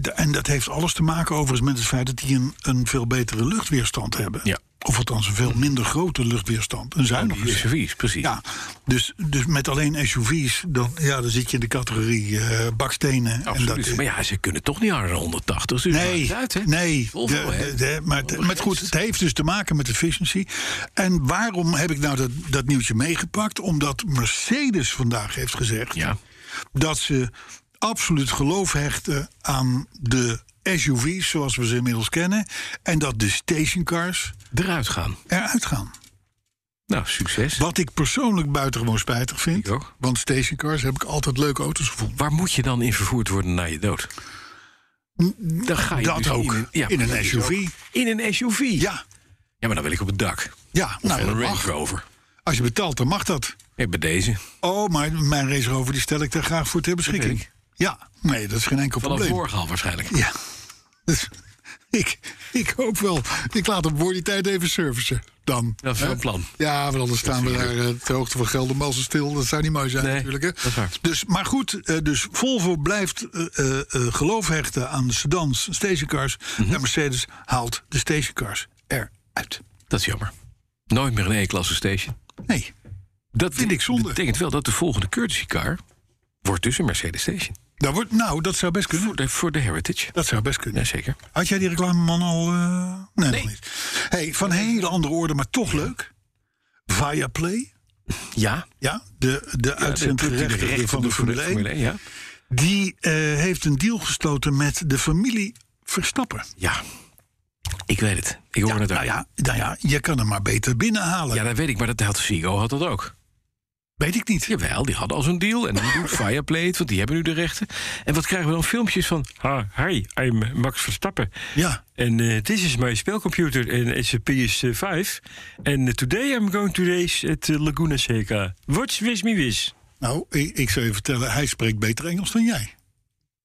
S5: De- En dat heeft alles te maken overigens met het feit dat die een, een veel betere luchtweerstand hebben.
S4: Ja.
S5: Of althans een veel minder grote luchtweerstand. Een zuinige
S4: SUV's, precies.
S5: ja, dus, dus met alleen SUV's, dan, ja, dan zit je in de categorie eh, bakstenen.
S4: absoluut.
S5: En dat,
S4: maar ja, ze kunnen toch niet harder dan 180. Dus maakt
S5: Nee,
S4: het uit, hè?
S5: nee.
S4: Volvo,
S5: de-
S4: hè?
S5: de- de- maar, het- maar goed, het heeft dus te maken met efficiëntie. En waarom heb ik nou dat, dat nieuwtje meegepakt? Omdat Mercedes vandaag heeft gezegd
S4: Ja.
S5: dat ze absoluut geloof hechten aan de SUV's zoals we ze inmiddels kennen. En dat de stationcars
S4: Eruit gaan.
S5: eruit gaan.
S4: Nou, succes.
S5: Wat ik persoonlijk buitengewoon spijtig vind.
S4: Ik ook.
S5: Want stationcars heb ik altijd leuke auto's gevonden.
S4: Waar moet je dan in vervoerd worden na je dood? Dan ga je
S5: dat
S4: dus
S5: ook.
S4: In een, ja,
S5: In een
S4: maar dat is
S5: SUV.
S4: ook- In een SUV?
S5: Ja,
S4: Ja, maar dan wil ik op het dak.
S5: ja
S4: Of
S5: nou, dat
S4: een Range
S5: mag.
S4: Rover.
S5: Als je betaalt, dan mag dat.
S4: Ja, bij deze.
S5: Oh, maar mijn Race Rover die stel ik daar graag voor ter
S4: weet
S5: beschikking.
S4: ik.
S5: Ja, nee, dat is geen enkel
S4: Vanaf
S5: probleem.
S4: morgen al waarschijnlijk.
S5: Ja, Dus ik, ik hoop wel. Ik laat hem voor die tijd even servicen. Dan.
S4: Dat is wel een plan.
S5: Ja, want anders staan we daar eh, ter hoogte van Geldermalsen stil. Dat zou niet mooi zijn
S4: Nee,
S5: natuurlijk. Hè?
S4: dat is waar.
S5: Dus, maar goed, eh, dus Volvo blijft eh, eh, eh, geloof hechten aan de sedans, stationcars.
S4: Mhm.
S5: En Mercedes haalt de stationcars eruit.
S4: Dat is jammer. Nooit meer een E-klasse station.
S5: Nee,
S4: Dat
S5: Vind ik zonde.
S4: betekent wel dat de volgende courtesy car wordt dus een Mercedes station.
S5: dat wordt, nou, dat zou best kunnen.
S4: Voor de, voor de Heritage.
S5: Dat zou best kunnen.
S4: Jazeker.
S5: Had jij die reclameman al? eh, Nee, nog niet. Hey, van hele andere orde, maar toch leuk. Viaplay,
S4: Ja.
S5: ja, de, de uitzendrechter van de Formule 1...
S4: ja.
S5: die eh, heeft een deal gesloten met de familie Verstappen.
S4: ja. Ik weet het. Ik hoor het ook.
S5: nou ja, nou ja, je kan hem maar beter binnenhalen.
S4: Ja, dat weet ik, maar dat had Figo had dat ook.
S5: Weet ik niet.
S4: Jawel, die hadden al zo'n deal. En dan
S5: *laughs*
S4: doet Fireplay het, want die hebben nu de rechten. En wat krijgen we dan? Filmpjes van...
S8: Ah, hi, I'm Max Verstappen.
S5: Ja,
S8: And uh, this is my spellcomputer, and eh, it's a PS5. And uh, today I'm going to race at uh, Laguna Seca. Watch with me with.
S5: nou, ik, ik zou je vertellen, hij spreekt beter Engels dan jij.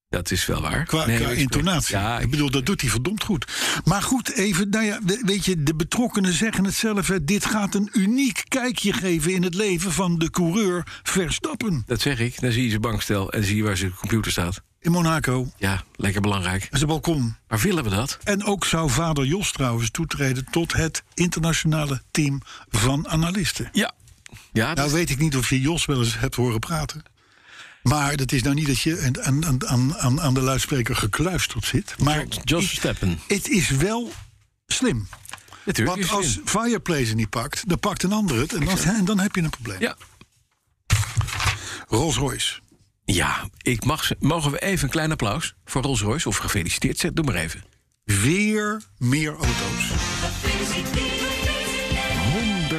S4: Dat is wel waar.
S5: Qua,
S4: Nee,
S5: qua
S4: ik-
S5: intonatie.
S4: Ja,
S5: ik bedoel, dat doet hij verdomd goed. Maar goed, even, nou ja, we- weet je, de betrokkenen zeggen het zelf. hè. dit gaat een uniek kijkje geven in het leven van de coureur Verstappen
S4: dat zeg ik. Dan zie je zijn bankstel en zie je waar zijn computer staat.
S5: in Monaco.
S4: Ja, lekker belangrijk.
S5: Zijn balkon.
S4: Maar willen we dat?
S5: En ook zou vader Jos trouwens toetreden tot het internationale team van analisten.
S4: Ja. Ja, dat
S5: Nou
S4: is-
S5: weet ik niet of je Jos wel eens hebt horen praten. Maar dat is nou niet dat je aan, aan- aan, aan, aan de luidspreker gekluisterd zit. Maar
S4: Jos
S5: ik-
S4: Verstappen.
S5: het is wel slim.
S4: Natuurlijk.
S5: Want
S4: is
S5: als
S4: slim.
S5: Fireplace het niet pakt, dan pakt een ander het. En dan, en *laughs* dan heb je een probleem.
S4: Ja.
S5: Rolls Royce.
S4: Ja, ik mag ze. Mogen we even een klein applaus voor Rolls Royce? Of gefeliciteerd, zeg, doe maar even.
S5: Weer meer auto's.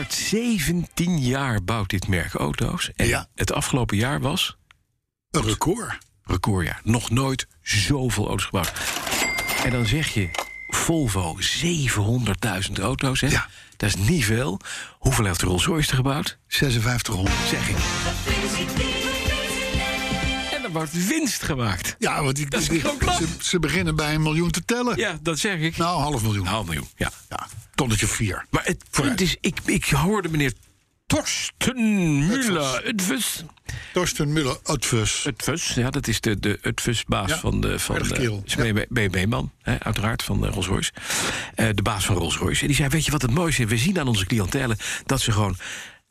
S4: 117 jaar bouwt dit merk auto's. En
S5: Ja.
S4: het afgelopen jaar was
S5: Een record.
S4: recordjaar. Nog nooit zoveel auto's gebouwd. En dan zeg je Volvo 700.000 auto's. Hè?
S5: Ja.
S4: Dat is niet veel. Hoeveel heeft Rolls Royce er gebouwd?
S5: 5600.
S4: Zeg ik. En er wordt winst gemaakt.
S5: Ja, want die,
S4: Dat is
S5: die-
S4: gewoon knap.
S5: ze, ze beginnen bij een miljoen te tellen.
S4: Ja, dat zeg ik.
S5: Nou, half miljoen.
S4: Een half miljoen, ja.
S5: Ja, tonnetje vier.
S4: Maar het
S5: Vooruit.
S4: punt is, ik, ik hoorde meneer Torsten Müller, Utfus.
S5: Torsten Muller, Advus.
S4: Utfus, ja, dat is de, de Utfus-baas
S5: Ja,
S4: van de... Van
S5: aardig
S4: de
S5: kerel.
S4: is BB-man, uiteraard, van eh, Rolls-Royce. Eh, de baas van Rolls-Royce. En die zei, weet je wat het mooiste is? We zien aan onze cliëntelen dat ze gewoon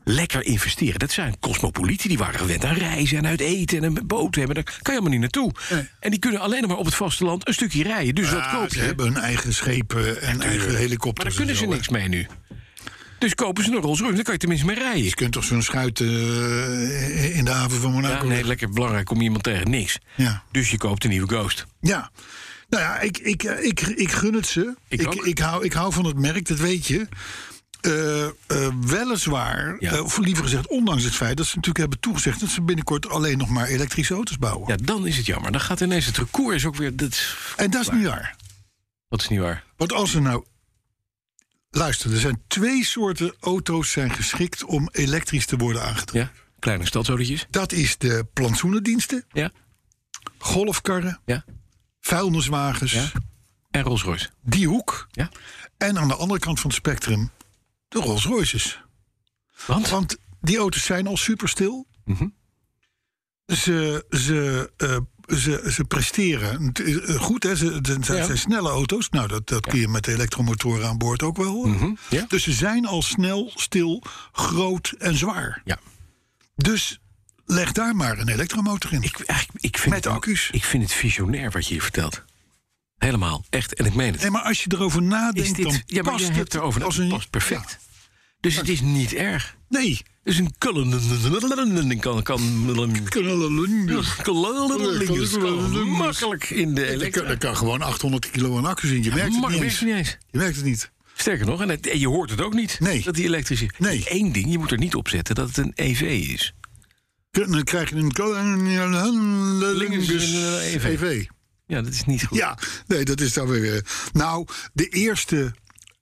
S4: lekker investeren. Dat zijn cosmopolieten, die waren gewend aan reizen en uit eten en een boot hebben. Daar kan je helemaal niet naartoe.
S5: Nee.
S4: En die kunnen alleen nog maar op het vasteland een stukje rijden. Dus dat
S5: Ja,
S4: koop
S5: ze
S4: je.
S5: hebben hun eigen schepen en eigen helikopters.
S4: Maar daar kunnen
S5: en
S4: ze
S5: zo, hè.
S4: niks mee nu. Dus kopen ze een Rolls-Royce, dan kan je tenminste mee rijden.
S5: Je kunt toch zo'n schuit eh, in de haven van
S4: Ja,
S5: Monaco
S4: nee, lekker belangrijk om iemand tegen niks.
S5: Ja.
S4: Dus je koopt een nieuwe Ghost.
S5: Ja. Nou ja, ik, ik, eh, ik, ik gun het ze.
S4: Ik
S5: ik,
S4: ook.
S5: ik hou, ik hou van het merk, dat weet je. Eh, eh, weliswaar,
S4: Ja.
S5: eh, of liever gezegd, ondanks het feit dat ze natuurlijk hebben toegezegd dat ze binnenkort alleen nog maar elektrische auto's bouwen.
S4: Ja, dan is het jammer. Dan gaat ineens het record is ook weer... Dat is,
S5: En dat is niet waar.
S4: dat is niet waar.
S5: Want als er nou. Luister, er zijn twee soorten auto's zijn geschikt om elektrisch te worden aangedreven.
S4: Ja? Kleine stadsautootjes.
S5: Dat is de plantsoenendiensten
S4: Ja?
S5: golfkarren,
S4: Ja.
S5: vuilniswagens,
S4: Ja. En Rolls Royce.
S5: die hoek.
S4: Ja.
S5: En aan de andere kant van het spectrum de Rolls Royces.
S4: Want?
S5: Want die auto's zijn al superstil.
S4: Mhm.
S5: Ze, ze, eh, ze, ze presteren Het is, eh, goed, hè? Ze, het zijn- zijn- zijn snelle auto's. Nou, dat, dat kun je met de elektromotoren aan boord ook wel.
S4: Mhm. Ja.
S5: Dus ze zijn al snel, stil, groot en zwaar.
S4: Ja.
S5: Dus leg daar maar een elektromotor in.
S4: Ik, eigenlijk, ik vind
S5: Met
S4: het,
S5: accu's.
S4: Ik vind het visionair wat je hier vertelt. Helemaal, echt. En ik meen het.
S5: Nee, maar als je erover nadenkt,
S4: is
S5: dan
S4: dit, ja, maar
S5: past
S4: jij hebt
S5: het
S4: erover
S5: als
S4: als
S5: een...
S4: past perfect.
S5: Ja.
S4: Dus het is niet erg.
S5: Nee.
S4: Het is een kullen. Kan, kan, Makkelijk in de
S5: Er
S4: elektro.
S5: kan, er kan gewoon 800 kilo aan accu in. Je merkt het
S4: Makkelijk
S5: niet eens.
S4: werkt het niet eens.
S5: Je merkt het niet.
S4: Sterker nog, en, het- en je hoort het ook niet.
S5: Nee.
S4: Dat die elektrisch is.
S5: Nee.
S4: Eén ding, je moet er niet op zetten dat het een EV is.
S5: En Dan krijg je een...
S4: Links een EV.
S5: EV.
S4: Ja, dat is niet goed.
S5: Ja, nee, dat is dan weer... eh, Nou, de eerste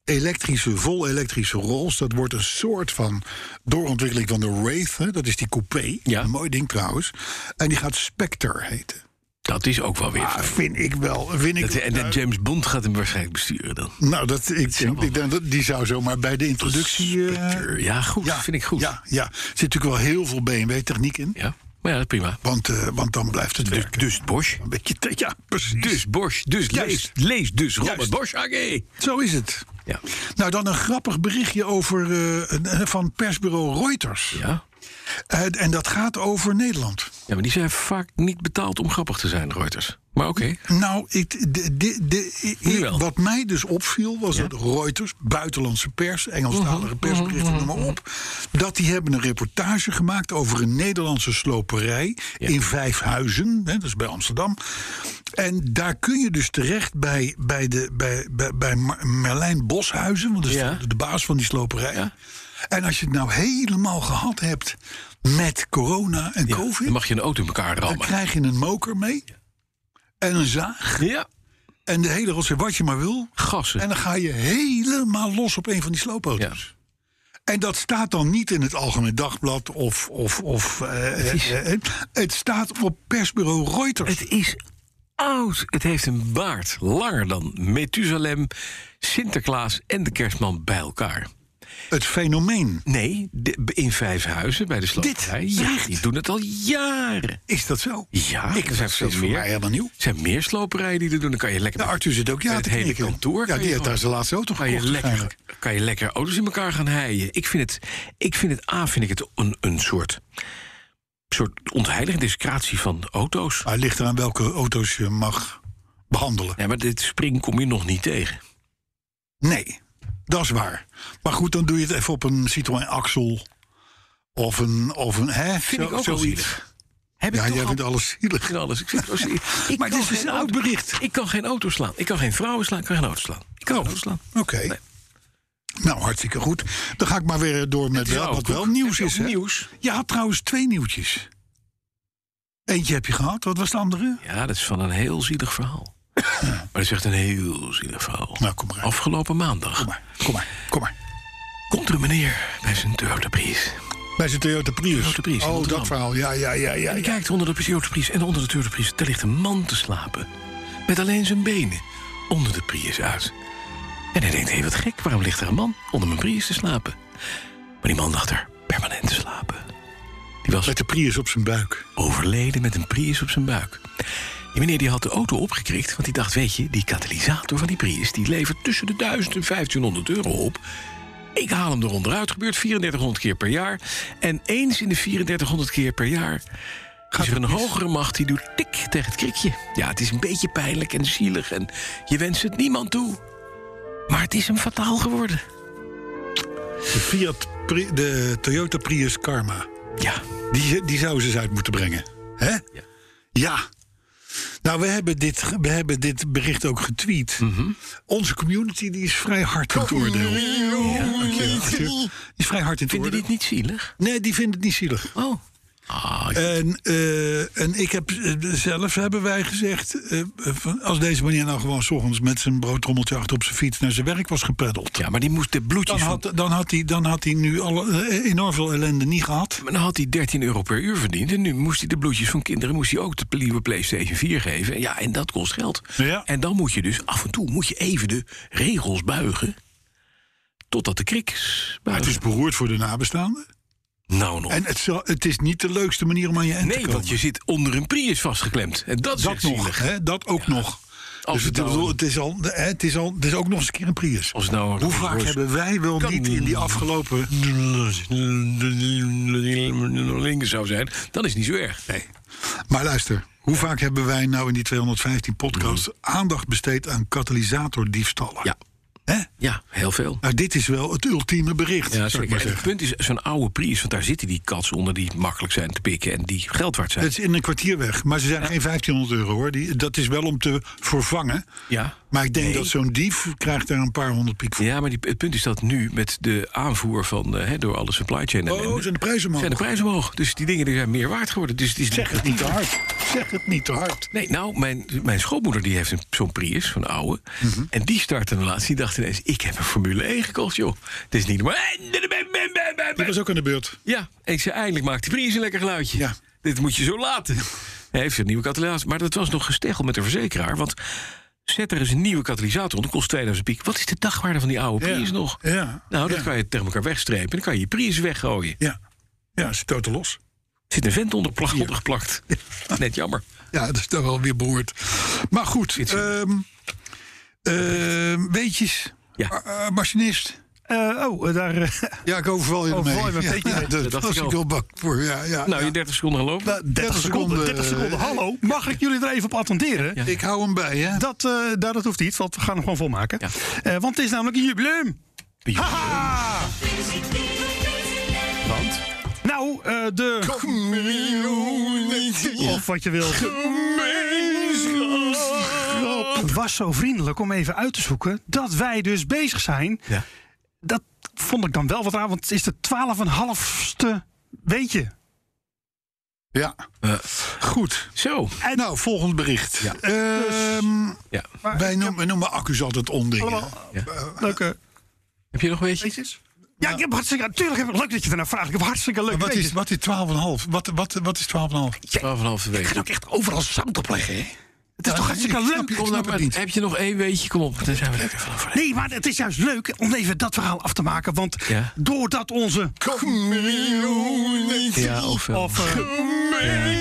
S5: elektrische, vol elektrische Rolls... dat wordt een soort van doorontwikkeling van de Wraith. Hè? Dat is die coupé.
S4: Ja.
S5: Een mooi ding trouwens. En die gaat Spectre heten.
S4: Dat is ook wel weer.
S5: Ah, vind ik wel. Vind ik, eh,
S4: dat, en dat James Bond gaat hem waarschijnlijk besturen dan.
S5: nou, dat, ik, denk, ik denk dat die zou zomaar bij de introductie... eh,
S4: Ja, goed.
S5: ja,
S4: vind ik goed.
S5: Ja, ja, er zit natuurlijk wel heel veel BMW-techniek in.
S4: Ja. Maar ja, dat is prima.
S5: Want, eh, want dan blijft het werken.
S4: Dus Bosch.
S5: een beetje te- ja, precies.
S4: Dus Bosch. Dus lees,
S5: Juist.
S4: lees dus Robert
S5: Juist.
S4: Bosch AG.
S5: Zo is het.
S4: Ja.
S5: Nou, dan een grappig berichtje over, eh, een- eh, van persbureau Reuters.
S4: ja.
S5: Eh, en dat gaat over Nederland.
S4: Ja, maar die zijn vaak niet betaald om grappig te zijn, Reuters. Maar oké.
S5: Nou, ik, de, de, de, ik-
S4: Nu wel.
S5: wat mij dus opviel was dat Reuters, buitenlandse pers,
S4: Mhm,
S5: Engelstalige persberichten, noem maar op. Dat die hebben een reportage gemaakt over een Nederlandse sloperij in Vijfhuizen. Hè, dat is bij Amsterdam. En daar kun je dus terecht bij, bij, de, bij, bij, bij Mar- Merlijn Boshuizen, want dat is
S4: Ja.
S5: de, de baas van die sloperij.
S4: Ja.
S5: En als je het nou helemaal gehad hebt met corona en COVID,
S4: Dan mag je een auto in elkaar
S5: dan
S4: rammen.
S5: krijg je een moker mee. En een zaag.
S4: Ja.
S5: En de hele rotzooi, wat je maar wil.
S4: Gassen.
S5: En dan ga je helemaal los op een van die sloopauto's. En dat staat dan niet in het Algemeen Dagblad of... of, of eh, eh, eh, het staat op persbureau Reuters.
S4: Het is oud. Het heeft een baard. Langer dan Methusalem, Sinterklaas en de kerstman bij elkaar.
S5: Het fenomeen.
S4: Nee, de- in vijf huizen bij de sloperij.
S5: Dit?
S4: Ja,
S5: Echt?
S4: die doen het al jaren.
S5: Is dat zo?
S4: Ja,
S5: Ik
S4: er zijn
S5: dat is
S4: veel
S5: voor mij
S4: meer.
S5: helemaal nieuw.
S4: Er zijn meer sloperijen die dat doen. Dan kan je lekker
S5: Nou,
S4: met-
S5: Arthur zit ook ja
S4: met
S5: te
S4: het hele
S5: knikken.
S4: kantoor.
S5: Ja,
S4: kan
S5: die
S4: je
S5: heeft daar
S4: gewoon-
S5: zijn laatste auto
S4: kan je,
S5: gekocht.
S4: lekker,
S5: waarschijnlijk.
S4: kan je lekker auto's in elkaar gaan heien. Ik vind het, ik vind het A, vind ik het een, een soort, soort ontheilige discratie van auto's.
S5: Maar het ligt eraan welke auto's je mag behandelen.
S4: Nee, maar dit spring kom je nog niet tegen.
S5: Nee, dat is waar. Maar goed, dan doe je het even op een Citroën Axel. Of een, of een hè,
S4: Vind
S5: zo-
S4: ik ook wel
S5: zoiets.
S4: zielig. Heb
S5: Ja,
S4: ik toch
S5: jij
S4: al-
S5: vindt alles zielig.
S4: Ik alles. Ik vind het wel zielig. *laughs* Ik
S5: Maar
S4: kan
S5: dit is
S4: geen
S5: een oud
S4: auto-
S5: bericht.
S4: Ik kan geen auto slaan. Ik kan geen vrouwen slaan. Ik kan geen auto slaan. Ik kan geen auto slaan.
S5: Oké.
S4: Nee.
S5: Nou, hartstikke goed. Dan ga ik maar weer door met
S4: is
S5: wel,
S4: wel
S5: wat
S4: goed.
S5: wel nieuws
S4: Heb je
S5: is.
S4: ook
S5: hè?
S4: nieuws?
S5: Je had trouwens twee nieuwtjes. Eentje heb je gehad, wat was de andere?
S4: Ja, dat is van een heel zielig verhaal. maar dat is echt een heel zielig verhaal.
S5: Nou, kom maar uit.
S4: Afgelopen maandag
S5: Kom maar, kom maar, kom maar.
S4: komt er een meneer bij zijn Toyota Prius.
S5: Bij zijn Toyota Prius.
S4: Toyota Prius,
S5: oh,
S4: Rotterdam.
S5: dat verhaal. Ja, ja, ja, ja.
S4: Hij
S5: ja.
S4: kijkt onder de Toyota Prius en onder de Toyota Prius... daar ligt een man te slapen. Met alleen zijn benen onder de Prius uit. En hij denkt, hé, wat gek, waarom ligt er een man onder mijn Prius te slapen? Maar die man lag er permanent te slapen. Die was
S5: Met de Prius op zijn buik.
S4: overleden met een Prius op zijn buik. Die meneer die had de auto opgekrikt, want die dacht, weet je... die katalysator van die Prius, die levert tussen de 1000 en 1500 euro op... Ik haal hem eronderuit, gebeurt 3400 keer per jaar. En eens in de 3400 keer per jaar is er een hogere macht die doet tik tegen het krikje. Ja, het is een beetje pijnlijk en zielig en je wenst het niemand toe. Maar het is hem fataal geworden.
S5: De Fiat, Pri- de Toyota Prius Karma.
S4: Ja,
S5: Die, die zouden ze eens uit moeten brengen. Hè? Ja. Nou, we hebben, dit, ge- we hebben dit bericht ook getweet. Onze community die is vrij hard in het oordeel. Ja, dankjewel, Arthur. Die is vrij hard in het
S4: vinden
S5: oordeel.
S4: die het niet zielig?
S5: Nee, die vinden het niet zielig.
S4: Oh,
S5: En, eh, en ik heb eh, zelf hebben wij gezegd, eh, van, als deze meneer nou gewoon 's ochtends met zijn broodtrommeltje achter op zijn fiets naar zijn werk was gepeddeld.
S4: Ja, maar die moest de
S5: Dan
S4: bloedjes van-
S5: had, dan, had hij, dan had hij nu alle, eh, enorm veel ellende niet gehad.
S4: Maar dan had hij 13 euro per uur verdiend. En nu moest hij de bloedjes van kinderen moest hij ook de nieuwe PlayStation 4 geven. Ja, en dat kost geld.
S5: Ja.
S4: En dan moet je dus af en toe moet je even de regels buigen. Totdat de kriks.
S5: Maar het is beroerd voor de nabestaanden.
S4: Nou nog.
S5: En het, zal- het is niet de leukste manier om aan je end te
S4: nee,
S5: komen.
S4: want je zit onder een Prius vastgeklemd. En dat is
S5: dat
S4: echt
S5: nog,
S4: zielig.
S5: hè, dat ook nog.
S4: Als
S5: dus
S4: het
S5: het,
S4: nou-
S5: bedoel, het, is al, hè, het, is al, het is ook nog eens een keer een Prius.
S4: Als het nou een
S5: Hoe
S4: Rolls
S5: vaak
S4: Royce-
S5: hebben wij wel
S4: Kan-
S5: niet in die afgelopen...
S4: links zou zijn, dan is het niet zo erg.
S5: Nee. Maar luister, hoe vaak hebben wij nou in die 215 podcasts... aandacht besteed aan katalysatordiefstallen?
S4: Mm. Ja.
S5: Hè?
S4: Ja, heel veel.
S5: Nou, dit is wel het ultieme bericht,
S4: Ja,
S5: zou ik
S4: zeker.
S5: maar
S4: En het
S5: zeggen.
S4: punt is, zo'n oude Prius, want daar zitten die katsen onder die makkelijk zijn te pikken en die geld waard zijn.
S5: Het is in een kwartier weg, maar ze zijn geen 1500 euro hoor. Die, dat is wel om te vervangen.
S4: Ja.
S5: Maar ik denk dat zo'n dief krijgt daar een paar honderd piek voor.
S4: Ja, maar die, het punt is dat nu met de aanvoer van, eh, hè, door alle supply chain en
S5: Oh, zijn de prijzen omhoog.
S4: zijn de prijzen omhoog. Dus die dingen die zijn meer waard geworden. Dus het is
S5: Zeg het niet te hard. Zeg het niet te hard.
S4: Nee, nou, mijn, mijn schoonmoeder die heeft een- zo'n Prius, van de oude.
S5: Mhm.
S4: En die startte een laatst. Die dacht ineens, ik heb een Formule 1 gekocht, joh. Het is niet normaal.
S5: Die was ook aan de beurt.
S4: Ja, en ik zei, eindelijk maakt die Prius een lekker geluidje.
S5: Ja.
S4: Dit moet je zo laten. Hij heeft een nieuwe katalysator. Maar dat was nog gesteggel met de verzekeraar. Want zet er eens een nieuwe katalysator op. Dat kost 2000 piek. Wat is de dagwaarde van die oude
S5: Ja.
S4: Prius nog?
S5: Ja.
S4: Nou, dat
S5: Ja.
S4: kan je tegen elkaar wegstrepen. Dan kan je je Prius weggooien.
S5: Ja, ja ze stoten los.
S4: Zit een vent onder, plak, *laughs* ondergeplakt. Net jammer.
S5: Ja, dat is toch wel weer behoord. Maar goed,
S4: Iets-
S5: ehm ehm, weetjes.
S4: Ja.
S5: Eh, eh, machinist.
S9: Eh, oh, eh, daar. eh,
S5: Ja, ik overval je
S9: Overval je
S5: mee.
S9: me een beetje
S5: ja,
S9: mee.
S5: dat
S4: Dat dacht
S5: was
S4: ik
S5: ik
S4: ook.
S5: wel bang voor. Ja, ja,
S4: Nou,
S5: ja.
S4: je 30 seconden gelopen.
S9: nou, 30, seconden, 30 seconden.
S5: eh,
S9: Hallo, mag ik jullie er even op attenderen?
S5: Ik hou hem bij, hè?
S9: Dat, eh, nou, dat hoeft niet, want we gaan hem gewoon volmaken.
S4: Ja.
S9: Eh, want het is namelijk een jubileum. Haha!
S4: Want?
S9: Nou, eh, de. Of wat je wilt. Het was zo vriendelijk om even uit te zoeken dat wij dus bezig zijn.
S4: Ja.
S9: Dat vond ik dan wel wat raar, want het is de 12,5ste weetje.
S5: Ja.
S4: Eh,
S5: Goed.
S4: zo.
S5: Nou, volgend bericht. Ehm,
S9: Dus,
S4: Ja.
S5: wij, noemen, wij noemen accu's altijd ondingen.
S9: Allemaal
S4: Ja.
S9: leuke
S4: Heb je nog een beetje?
S9: weetjes. Ja, ik heb hartstikke. Natuurlijk heb ik leuk dat je ernaar vraagt. Ik heb hartstikke leuk.
S5: Nou. Maar Wat is,
S9: weetjes.
S5: wat is 12,5? Wat, wat, wat is 12,5?
S4: 12,5
S9: Ik
S4: weken.
S9: ga ook echt overal zout op leggen, hè? Het is toch hartstikke
S5: ik snap
S9: leuk.
S5: je.
S9: om-
S4: Kom nou,
S5: het
S4: maar,
S5: niet.
S4: heb je nog één weetje? Kom op, dan zijn we lekker vanaf.
S9: Nee, maar het is juist leuk om even dat verhaal af te maken. Want
S4: Ja.
S9: doordat onze.
S4: Ja, of, eh,
S9: Of, eh,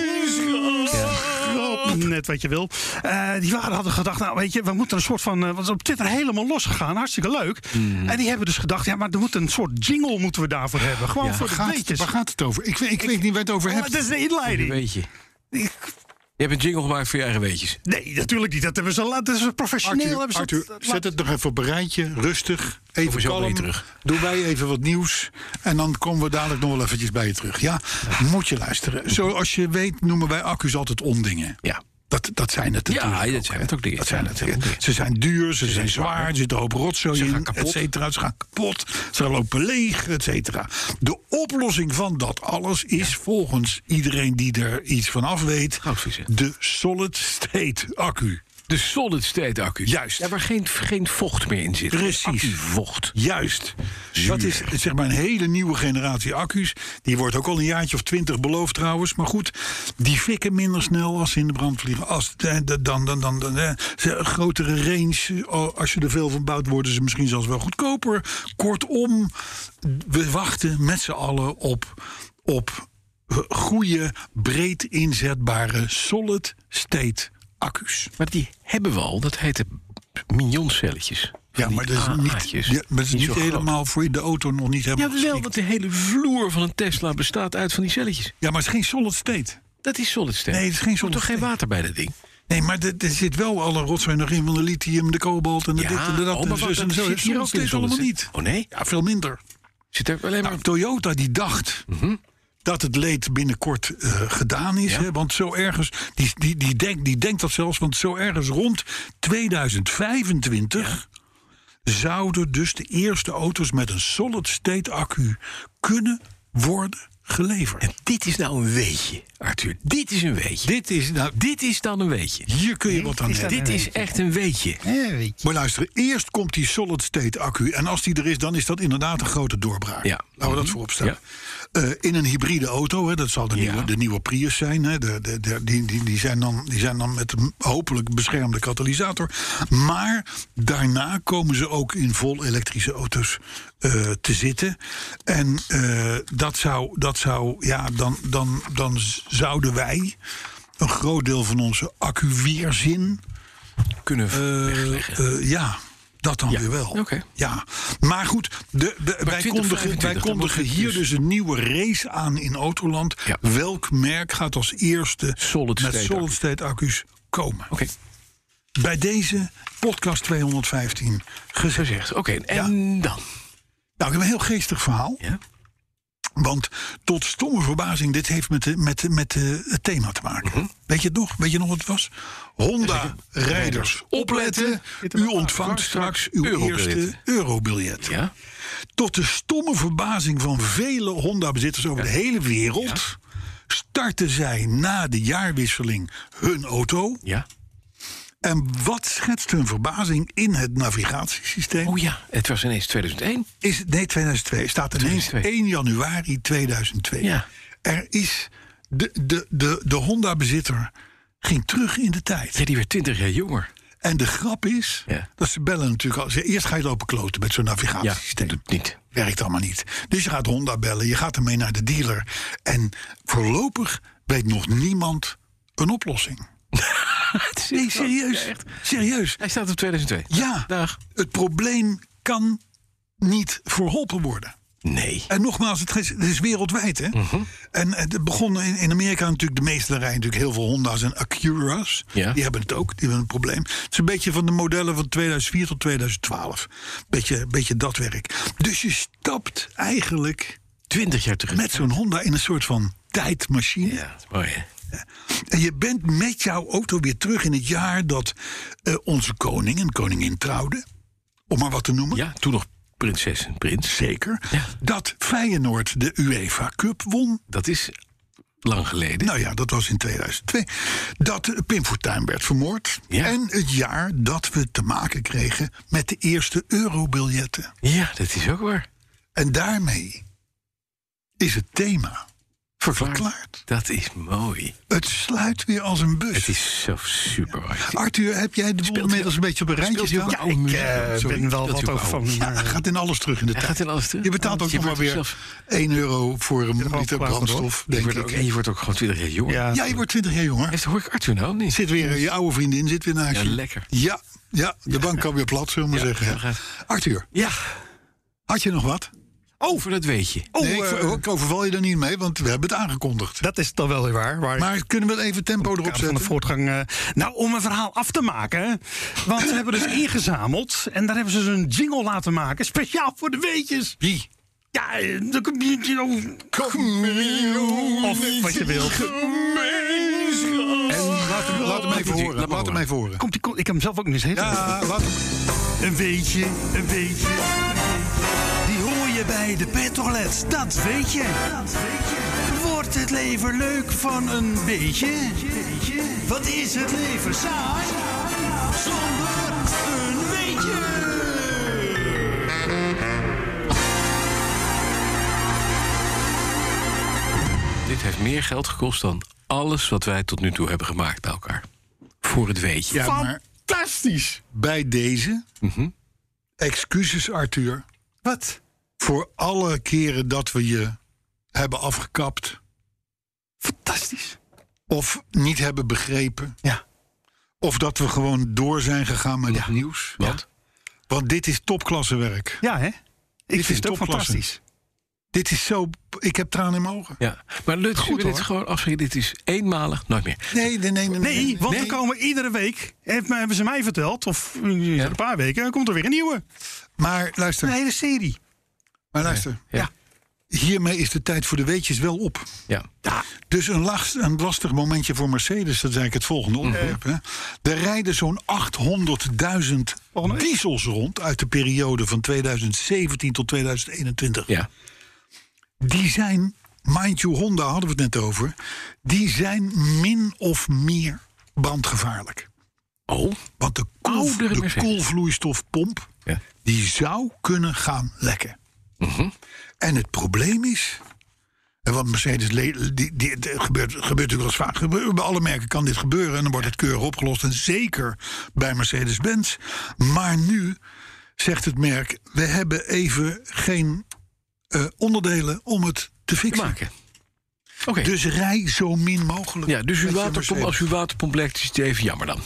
S9: Ja. Net wat je wil. Eh, die waren hadden gedacht, nou weet je, we moeten een soort van. eh, want het is op Twitter helemaal losgegaan, hartstikke leuk.
S4: Hmm.
S9: En die hebben dus gedacht, ja, maar er moet een soort jingle moeten we daarvoor hebben. Gewoon voor de
S5: Gaat het,
S9: weetjes.
S5: waar gaat het over? Ik, weet- ik weet niet waar je het over
S9: Maar
S5: hebt.
S9: dat is Oh, de
S4: een
S9: inleiding.
S4: weetje. Je hebt een jingle gemaakt voor je eigen weetjes.
S9: Nee, natuurlijk niet. Dat hebben ze laten. Dat is professioneel.
S5: Arthur,
S9: hebben ze dat-
S5: Arthur,
S9: dat
S5: zet
S9: laten-
S5: het nog even op een rijtje. Rustig. Even
S4: we zo bij
S5: kalm.
S4: je terug.
S5: Doen wij even wat nieuws. En dan komen we dadelijk nog wel eventjes bij je terug. Ja, moet je luisteren. Zoals je weet noemen wij accu's altijd ondingen.
S4: Ja.
S5: Dat, dat zijn het
S4: Ja,
S5: natuurlijk
S4: dat zijn
S5: hè.
S4: het ook dingen.
S5: Dat zijn het.
S4: Ja, dat zijn
S5: Ze zijn duur, ze, zijn zwaar, er zit een hoop rotzooi
S4: Ze gaan
S5: in,
S4: kapot.
S5: et cetera. Ze gaan kapot, ze lopen leeg, et cetera. De oplossing van dat alles is volgens iedereen die er iets van af weet...
S4: Goudvissen.
S5: de solid-state accu.
S4: De solid state accu.
S5: Juist.
S4: Ja, waar geen, geen vocht meer in zit.
S5: Precies.
S4: vocht.
S5: Juist. Dat is zeg maar een hele nieuwe generatie accu's. Die wordt ook al een jaartje of twintig beloofd trouwens. Maar goed, die fikken minder snel als ze in de brand vliegen. Als, eh, dan, dan, dan, dan, eh, ze- een grotere range. Oh, Als je er veel van bouwt, worden ze misschien zelfs wel goedkoper. Kortom, we wachten met z'n allen op, op eh, goede, breed inzetbare solid-state accu's.
S4: Maar die hebben we al. Dat heet de mignoncelletjes.
S5: Ja, maar dat is niet, ja, maar dat is niet, helemaal voor in de auto nog niet helemaal
S4: Ja, wel,
S5: geschikt.
S4: want de hele vloer van een Tesla bestaat uit van die celletjes.
S5: Ja, maar het is geen solid state.
S4: Dat is solid state.
S5: Nee, het is geen
S4: Er moet
S5: solid
S4: toch geen
S5: state.
S4: water bij dat ding?
S5: Nee, maar er er zit wel alle rotzooi nog in van de lithium, de kobalt en de
S4: Ja,
S5: dit en de dat. Dus
S4: oh, maar
S5: en de zus
S4: wat,
S5: en
S4: dat
S5: zo.
S4: zit hier
S5: Solid
S4: ook in de
S5: state allemaal
S4: solid
S5: niet.
S4: state. Oh, nee?
S5: Ja, veel minder.
S4: Zit er alleen maar...
S5: Nou, Toyota die dacht
S4: Mhm.
S5: dat het leed binnenkort eh, gedaan is. Hè, want zo ergens, die, die, die, denkt, die denkt dat zelfs, want zo ergens rond 2025 zouden dus de eerste auto's met een solid state accu kunnen worden geleverd.
S4: En dit is nou een weetje, Arthur. Dit is een weetje.
S5: Dit is, nou,
S4: Dit is dan een weetje.
S5: hier kun je wat aan hebben.
S4: Dit is echt een weetje.
S5: Maar luister, eerst komt die solid-state accu. En als die er is, dan is dat inderdaad een grote doorbraak.
S4: Ja.
S5: Laten we dat voorop stellen. Eh, in een hybride auto, hè, dat zal de, nieuwe, de nieuwe Prius zijn. Hè, de, de, de- die, die, die, zijn dan, die zijn dan met een hopelijk beschermde katalysator. Maar daarna komen ze ook in vol elektrische auto's eh, te zitten. En eh, dat zou, dat zou ja, dan, dan, dan zouden wij een groot deel van onze accu-weerzin...
S4: Kunnen
S5: Eh, eh, ja, dat dan weer wel.
S4: oké.
S5: Ja. Maar goed, de, de- wij
S4: 20,
S5: kondigen, wij
S4: 25,
S5: kondigen
S4: dan
S5: hier
S4: wordt het
S5: dus een nieuwe race aan in Autoland.
S4: Ja.
S5: Welk merk gaat als eerste
S4: Solid
S5: met
S4: state
S5: solid
S4: accu.
S5: state accu's komen?
S4: Oké.
S5: Bij deze podcast 215 gezegd.
S4: Gezegd. Oké, en dan?
S5: Nou, ik heb een heel geestig verhaal.
S4: Ja.
S5: Want tot stomme verbazing, dit heeft met, de, met, de- met de- het thema te maken. Weet je het nog? Weet je nog wat het was? Honda, rijders, opletten. U ontvangt straks uw
S4: Eurobiljet.
S5: eerste eurobiljet.
S4: Ja?
S5: Tot de stomme verbazing van vele Honda-bezitters over de hele wereld... starten zij na de jaarwisseling hun auto.
S4: Ja?
S5: En wat schetst hun verbazing in het navigatiesysteem?
S4: Oh ja, het was ineens 2001.
S5: Is, het- nee, 2002. Staat ineens
S4: 2002.
S5: 1 januari 2002.
S4: Ja.
S5: Er is... De, de, de, de Honda-bezitter ging terug in de tijd.
S4: Ja, die werd 20 jaar jonger.
S5: En de grap is...
S4: Ja.
S5: dat ze bellen natuurlijk al. ze- Eerst ga je lopen kloten met zo'n
S4: Ja,
S5: navigatiesysteem.
S4: dat doet niet.
S5: Werkt allemaal niet. Dus je gaat Honda bellen, je gaat ermee naar de dealer. En voorlopig weet nog niemand een
S4: *laughs*
S5: oplossing. Nee, serieus. Serieus.
S4: Hij staat op 2002.
S5: Ja,
S4: Dag.
S5: het probleem kan niet verholpen worden.
S4: Nee.
S5: En nogmaals, het is, het is wereldwijd. Hè?
S4: Mhm.
S5: En het begon in, in Amerika natuurlijk de meeste rijden natuurlijk heel veel Honda's en Acura's.
S4: Ja.
S5: Die hebben het ook, die hebben een probleem. Het is een beetje van de modellen van 2004 tot 2012. Beetje, beetje dat werk. Dus je stapt eigenlijk
S4: 20 jaar terug.
S5: met zo'n Honda in een soort van tijdmachine.
S4: Ja, dat is mooi hè.
S5: En je bent met jouw auto weer terug in het jaar dat eh, onze koning en koningin trouwden. Om maar wat te noemen.
S4: Ja, toen nog prinses en prins.
S5: Zeker. Dat Feyenoord de UEFA Cup won.
S4: Dat is lang geleden.
S5: Nou ja, dat was in 2002. Dat eh, Pim Fortuyn werd vermoord.
S4: Ja.
S5: En het jaar dat we te maken kregen met de eerste eurobiljetten.
S4: Ja, dat is ook waar.
S5: En daarmee is het thema
S4: Verklaard.
S5: verklaard.
S4: Dat is mooi.
S5: Het sluit weer als een bus.
S4: Het is zo super mooi.
S5: Arthur, heb jij de boel
S4: Speelt
S5: inmiddels een beetje op een rijtje
S4: speelt hij ook
S5: staan?
S9: Ja, ik eh, ben wel wat over van. eh,
S5: Ja, hij gaat in alles terug in de
S4: Hij
S5: tijd.
S4: gaat in alles terug.
S5: Je betaalt ook
S4: Je
S5: nog maar
S4: wordt
S5: weer
S4: zelf-
S5: 1 euro voor een
S9: gewoon
S5: liter
S9: geplaatst, hoor.
S5: brandstof,
S4: Je
S5: denk
S4: wordt ook, en
S5: ik.
S4: je wordt ook gewoon 20 jaar jonger.
S9: Ja,
S5: Ja, je wordt 20 jaar jonger.
S4: Heeft, hoor ik Arthur nou of niet?
S5: Zit weer, je oude vriendin zit weer naast
S4: Ja,
S5: je.
S4: lekker.
S5: Ja, ja, de bank kan weer plat, zullen we maar
S4: Ja,
S5: zeggen.
S4: zo
S5: ja.
S4: gaat
S5: Arthur,
S4: Ja.
S5: had je nog wat? Oh!
S4: Over dat weet je.
S5: nee, ik, ver- ik overval je er niet mee, want we hebben het aangekondigd.
S9: Oh, eh, dat is dan wel weer waar. waar
S5: Maar kunnen we even tempo erop
S9: van de
S5: zetten?
S9: voortgang. eh, nou, om een verhaal af te maken. hè. Want ze *laughs* hebben dus ingezameld. En daar hebben ze dus een jingle laten maken. Speciaal voor de weetjes.
S5: Wie?
S9: Ja, eh, de community. Of wat je wilt.
S5: En laat hem, laat hem even horen. Laat hem even horen.
S9: Komt die, ik heb hem zelf ook niet eens heten.
S5: Ja, laat hem.
S9: Een beetje, een beetje. Die hoor je bij de petrolets, dat weet je. Wordt het leven leuk van een beetje? Wat is het leven saai? Zonder een beetje.
S4: Dit heeft meer geld gekost dan alles wat wij tot nu toe hebben gemaakt bij elkaar. Voor het weetje.
S5: Ja, maar
S9: Fantastisch. Mhm.
S5: bij deze. Excuses, Arthur.
S9: Wat?
S5: Voor alle keren dat we je hebben afgekapt.
S9: Fantastisch.
S5: Of niet hebben begrepen.
S9: Ja.
S5: Of dat we gewoon door zijn gegaan met het nieuws.
S4: Want?
S5: Want dit is topklassewerk.
S9: Ja, hè? Ik
S5: is
S9: vind het ook
S5: topklasse.
S9: fantastisch.
S5: Dit is zo. Ik heb tranen in mijn ogen.
S4: Ja. Maar leuk,
S5: Goed,
S4: Goed, dit
S5: hoor.
S4: gewoon afschieten. Dit is eenmalig, nooit meer.
S5: Nee, nee, nee. nee,
S9: Nee, want er komen iedere week, heeft mij- hebben ze mij verteld, of eh, een paar weken, dan komt er weer een nieuwe.
S5: Maar luister,
S9: Een hele serie.
S5: maar luister.
S4: Ja.
S5: Hiermee is de tijd voor de weetjes wel op.
S4: Ja.
S5: Dus een, last, een lastig momentje voor Mercedes, dat is eigenlijk het volgende
S9: Mhm.
S5: onderwerp. Hè. Er rijden zo'n 800.000
S9: Volgende week.
S5: diesels rond uit de periode van 2017 tot 2021.
S4: Ja.
S5: Die zijn mind you, Honda hadden we het net over. Die zijn min of meer brandgevaarlijk.
S4: Oh,
S5: Want de, koel,
S4: Oudere
S5: de
S4: Mercedes.
S5: koelvloeistofpomp
S4: Ja.
S5: die zou kunnen gaan lekken.
S4: Mhm.
S5: En het probleem is. en Want Mercedes, le- die, die, het gebeurt, gebeurt natuurlijk wel eens vaak. Gebe- Bij alle merken kan dit gebeuren en dan wordt het keurig opgelost. En zeker bij Mercedes-Benz. Maar nu zegt het merk: we hebben even geen eh, onderdelen om het te
S4: te
S5: fixen.
S4: maken. Oké.
S5: Dus rij zo min mogelijk.
S4: ja, dus uw
S5: met je
S4: waterpomp,
S5: Mercedes.
S4: als uw waterpomp lekt, is het even jammer dan.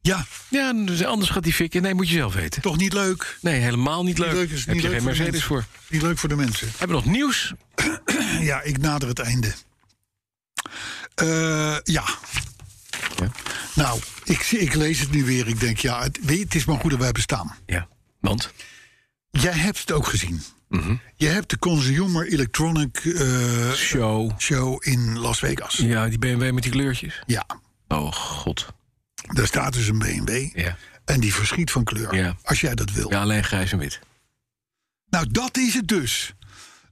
S5: Ja,
S4: Ja, dus anders gaat die fikken. Nee, moet je zelf weten.
S5: toch niet leuk.
S4: Nee, helemaal niet leuk.
S5: Niet leuk is het
S4: Heb
S5: niet
S4: je
S5: leuk
S4: geen
S5: voor de
S4: Mercedes
S5: mensen.
S4: voor.
S5: Niet leuk voor de mensen.
S4: Hebben we nog nieuws?
S5: Ja, ik nader het einde. Eh, ja. Nou, ik, zie- ik lees het nu weer. Ik denk, ja, het, weet je, het is maar goed dat wij bestaan.
S4: Ja. Want?
S5: Jij hebt het ook gezien.
S4: Mhm.
S5: Je hebt de Consumer Electronic eh,
S4: Show.
S5: Show in Las Vegas. Ja.
S4: Ja, die BMW met die kleurtjes. Oh, god.
S5: daar staat dus een BMW.
S4: Ja.
S5: En die verschiet van kleur,
S4: Ja.
S5: als jij dat wil.
S4: Ja, alleen grijs en wit.
S5: Nou, dat is het dus.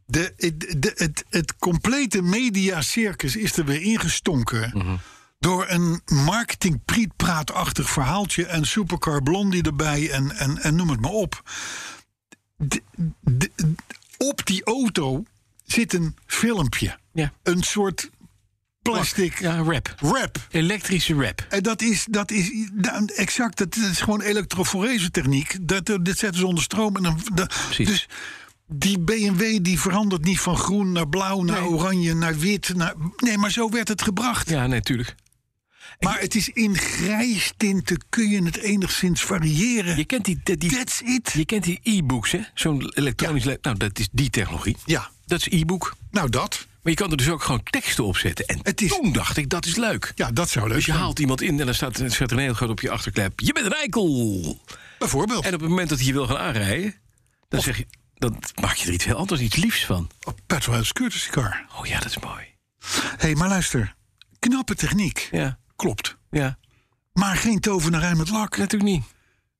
S5: De, het- de- het, het complete mediacircus is er weer ingestonken. Door een marketingprietpraatachtig verhaaltje en supercar blondie erbij en, en, en noem het maar op. De- de- op die auto zit een filmpje.
S4: Ja.
S5: Een soort plastic
S4: Ja, rap.
S5: wrap.
S4: Elektrische rap.
S5: En dat is, dat is nou, exact, dat is gewoon elektroforese techniek. Dat, eh, dit zetten ze onder stroom. En dan, da-
S4: Precies.
S5: dus die BMW die verandert niet van groen naar blauw, naar oranje, naar wit. Naar, nee, maar zo werd het gebracht.
S4: Ja, nee, tuurlijk.
S5: Maar het is in grijstinten kun je het enigszins variëren.
S4: Je kent die, die, die-
S5: That's it.
S4: je kent die e-books, hè? Zo'n elektronisch... le- Nou, dat is die technologie.
S5: Ja,
S4: Dat is e-book.
S5: nou dat.
S4: Maar je kan er dus ook gewoon teksten op zetten. En
S5: Het is-
S4: toen dacht ik, dat is leuk.
S5: Ja, dat zou leuk
S4: Dus je
S5: zijn.
S4: haalt iemand in en dan staat, staat er een heel groot op je achterklep. Je bent Rijkel!
S5: Bijvoorbeeld.
S4: En op het moment dat hij je wil gaan aanrijden, dan zeg je, dan maak je er iets heel anders, iets liefs van.
S5: Op Petrolheads Courtesy Car.
S4: Oh ja, dat is mooi.
S5: Hé, hey, maar luister. Knappe techniek.
S4: Ja,
S5: Klopt.
S4: ja.
S5: Maar geen tovenarij met lak.
S4: Natuurlijk niet.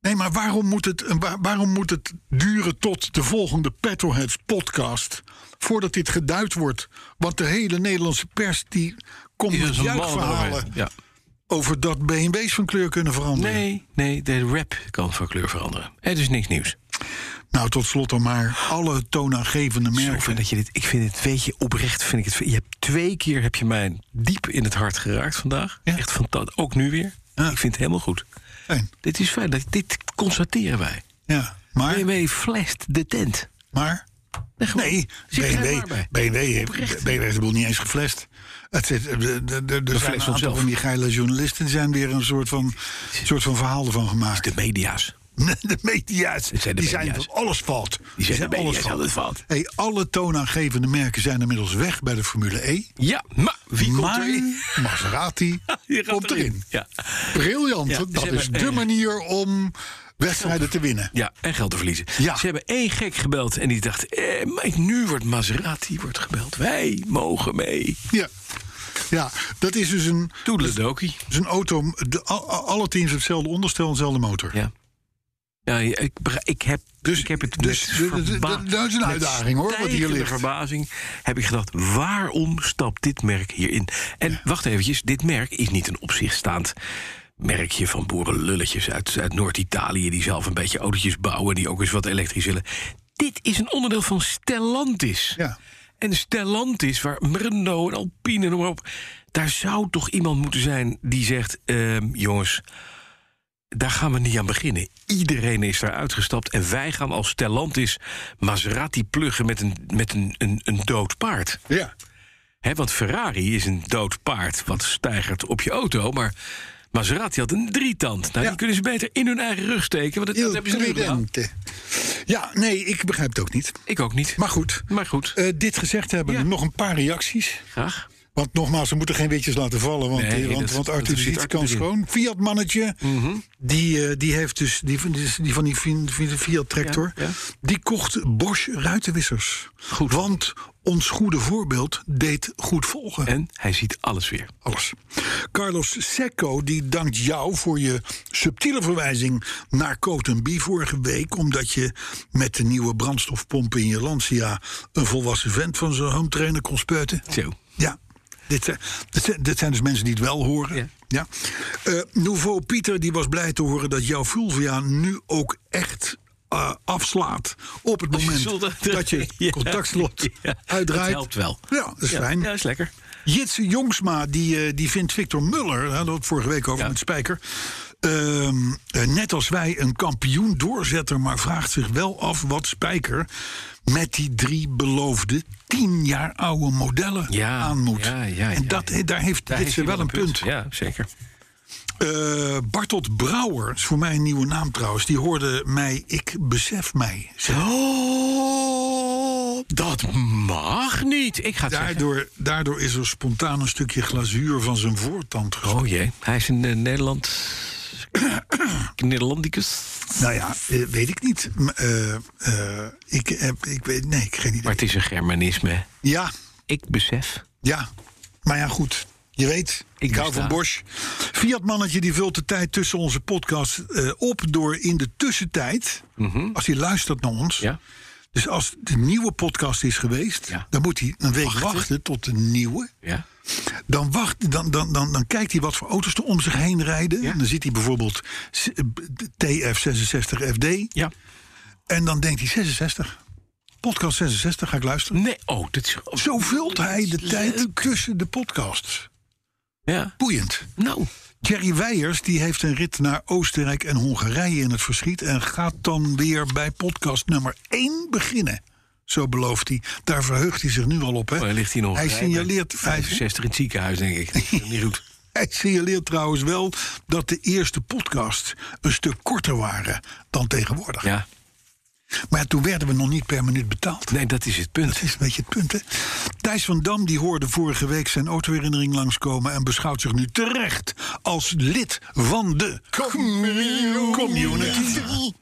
S5: Nee, maar waarom moet het, en waar- waarom moet het duren tot de volgende Petroheads podcast... voordat dit geduid wordt? Want de hele Nederlandse pers die komt met juichverhalen...
S4: Ja.
S5: over dat BMW's van kleur kunnen veranderen.
S4: Nee, nee, de rap kan van kleur veranderen. Het is niks nieuws.
S5: Nou, tot slot dan maar alle toonaangevende
S4: Zo fijn
S5: merken.
S4: dat je dit, ik vind het, weet je, oprecht vind ik het. Je hebt twee keer heb je mij diep in het hart geraakt vandaag.
S5: Ja.
S4: Echt fantastisch. Ook nu weer.
S5: Ja.
S4: Ik vind het helemaal goed.
S5: Fijn,
S4: Dit is fijn. dat- Dit constateren wij.
S5: Ja, maar...
S4: BMW flasht de tent.
S5: maar
S4: gewoon.
S5: nee,
S4: Zit er
S5: BMW,
S4: maar bij.
S5: BMW, heeft, BMW heeft de boel niet eens geflasht. Het zit, er- er- er- er zijn een
S4: flesht
S5: aantal
S4: zelf.
S5: van die geile journalisten... die zijn weer een soort van, soort van verhaal ervan gemaakt.
S4: De media's.
S5: De media's.
S4: Het zijn de
S5: die zijn
S4: media's.
S5: van alles fout.
S4: Die zijn de media's altijd fout.
S5: Hey, alle toonaangevende merken zijn inmiddels weg bij de Formule E.
S4: Ja, maar wie komt
S5: maar
S4: erin?
S5: *laughs*
S4: *laughs*
S5: Maserati
S4: Je gaat
S5: komt erin.
S4: Ja.
S5: Briljant.
S4: Ja,
S5: dat
S4: ze hebben-
S5: is de manier om wedstrijden te winnen.
S4: ja, en geld te verliezen.
S5: Ja.
S4: Ze hebben één gek gebeld en die dacht... Eh, maar nu wordt Maserati wordt gebeld. Wij mogen mee.
S5: Ja. ja, dat is dus een,
S4: Toedeledokie.
S5: dus een auto. De, al- al- alle teams hebben hetzelfde onderstel en dezelfde motor.
S4: Ja. Ja, ik, bega- ik, heb,
S5: Dus-
S4: ik heb het
S5: dus
S4: met
S5: d- d- d-
S4: verba-
S5: d- dat is een
S4: met
S5: uitdaging, hoor, wat hier
S4: stijgende
S5: ligt.
S4: verbazing heb ik gedacht, waarom stapt dit merk hierin? En wacht eventjes, dit merk is niet een op zich staand merkje van boerenlulletjes uit, uit Noord-Italië... die zelf een beetje autootjes bouwen, die ook eens wat elektrisch willen. Dit is een onderdeel van Stellantis.
S5: Ja.
S4: En Stellantis, waar Renault en Alpine en noem maar op... daar zou toch iemand moeten zijn die zegt... ehm, jongens, daar gaan we niet aan beginnen. Iedereen is daar uitgestapt en wij gaan als Stellantis Maserati pluggen met een, met een, een, een dood paard.
S5: Ja.
S4: Hè, want Ferrari is een dood paard wat stijgert op je auto, maar Maserati had een drietand. Nou, die kunnen ze beter in hun eigen rug steken, want dat, dat hebben ze nu gedaan.
S5: Evidente. Ja, nee, ik begrijp het ook niet.
S4: Ik ook niet.
S5: Maar goed.
S4: Maar goed,
S5: Eh, dit gezegd hebben,
S4: Ja.
S5: nog een paar reacties.
S4: graag.
S5: Want nogmaals, ze moeten geen witjes laten vallen. Want,
S4: Nee,
S5: eh, want,
S4: dat-
S5: want
S4: dat
S5: Arthur
S4: zit
S5: Ziet
S4: Arthur
S5: kan
S4: erin. Mhm.
S5: schoon. Fiat-mannetje, die, eh, die heeft dus die, van- die, die van die Fi- Fi- Fiat-tractor.
S4: Ja, ja.
S5: Die kocht Bosch ruitenwissers. Goed. Want ons goede voorbeeld deed goed volgen.
S4: En hij ziet alles weer.
S5: Alles. Carlos Secco die dankt jou voor je subtiele verwijzing naar Coton B vorige week. Omdat je met de nieuwe brandstofpomp in je Lancia een volwassen vent van zijn home trainer kon spuiten.
S4: Zo.
S5: Ja. Dit zijn, dit, zijn, dit zijn dus mensen die het wel horen. Ja.
S4: Ja.
S5: Eh, Nouveau Pieter die was blij te horen dat jouw Fulvia nu ook echt eh, afslaat. Op
S4: *laughs*
S5: het moment
S4: soldaat-
S5: dat je het
S4: *laughs* Ja.
S5: contactslot
S4: Ja,
S5: uitdraait.
S4: dat helpt wel.
S5: Ja, dat is fijn.
S4: Ja, is lekker.
S5: Jitse Jongsma, die, eh, die vindt Victor Muller, daar hadden we het vorige week over
S4: Ja.
S5: met Spijker. ehm, eh, net als wij een kampioen doorzetter, maar vraagt zich wel af wat Spijker met die drie beloofde tien jaar oude modellen
S4: Ja,
S5: aan moet.
S4: ja, ja,
S5: en
S4: ja,
S5: dat,
S4: ja.
S5: daar heeft
S4: Daar
S5: Jitse
S4: heeft hij
S5: wel een punt.
S4: Ja, zeker.
S5: Eh, Bartelt Brouwer, is voor mij een nieuwe naam trouwens, die hoorde mij, ik besef mij.
S4: Oh, dat mag niet. Ik ga het zeggen.
S5: Daardoor, daardoor is er spontaan een stukje glazuur van zijn voortand gespoten.
S4: Oh jee, hij is een eh, Nederland... Nederlandicus.
S5: Nou ja, eh, weet ik niet. M- eh, eh, ik, heb, ik weet, nee, ik geen idee.
S4: Maar het is een Germanisme.
S5: Ja,
S4: Ik besef.
S5: ja. Maar ja, goed. Je weet, ik, hou
S4: besta.
S5: van Bosch. Fiat-mannetje die vult de tijd tussen onze podcast eh, op... door in de tussentijd, als hij luistert naar ons...
S4: Mhm. Ja.
S5: dus als de nieuwe podcast is geweest...
S4: Ja.
S5: dan moet hij een week wachten, tot de nieuwe.
S4: Ja.
S5: Dan, wacht, dan, dan, dan, dan kijkt hij wat voor auto's er om zich heen rijden. En dan ziet hij bijvoorbeeld s- eh, b- TF66FD.
S4: Ja.
S5: En dan denkt hij 66. Podcast 66 ga ik luisteren.
S4: Nee, oh, dat is... oh,
S5: Zo vult hij de tijd tussen de podcasts.
S4: Ja.
S5: Boeiend.
S4: Nou,
S5: Jerry Weijers die heeft een rit naar Oostenrijk en Hongarije in het verschiet... en gaat dan weer bij podcast nummer 1 beginnen. Zo belooft hij. Daar verheugt hij zich nu al op. Hè?
S4: hij Oh, ligt hier nog.
S5: hij signaleert, hij,
S4: 65 in het ziekenhuis, denk ik. Dat
S5: *laughs*
S4: is niet goed.
S5: hij signaleert trouwens wel dat de eerste podcasts een stuk korter waren dan tegenwoordig.
S4: Ja.
S5: Maar ja, toen werden we nog niet per minuut betaald.
S4: Nee, dat is het punt.
S5: Dat is een beetje het punt, hè? Thijs van Dam die hoorde vorige week zijn autoherinnering langskomen... en beschouwt zich nu terecht als lid van de community.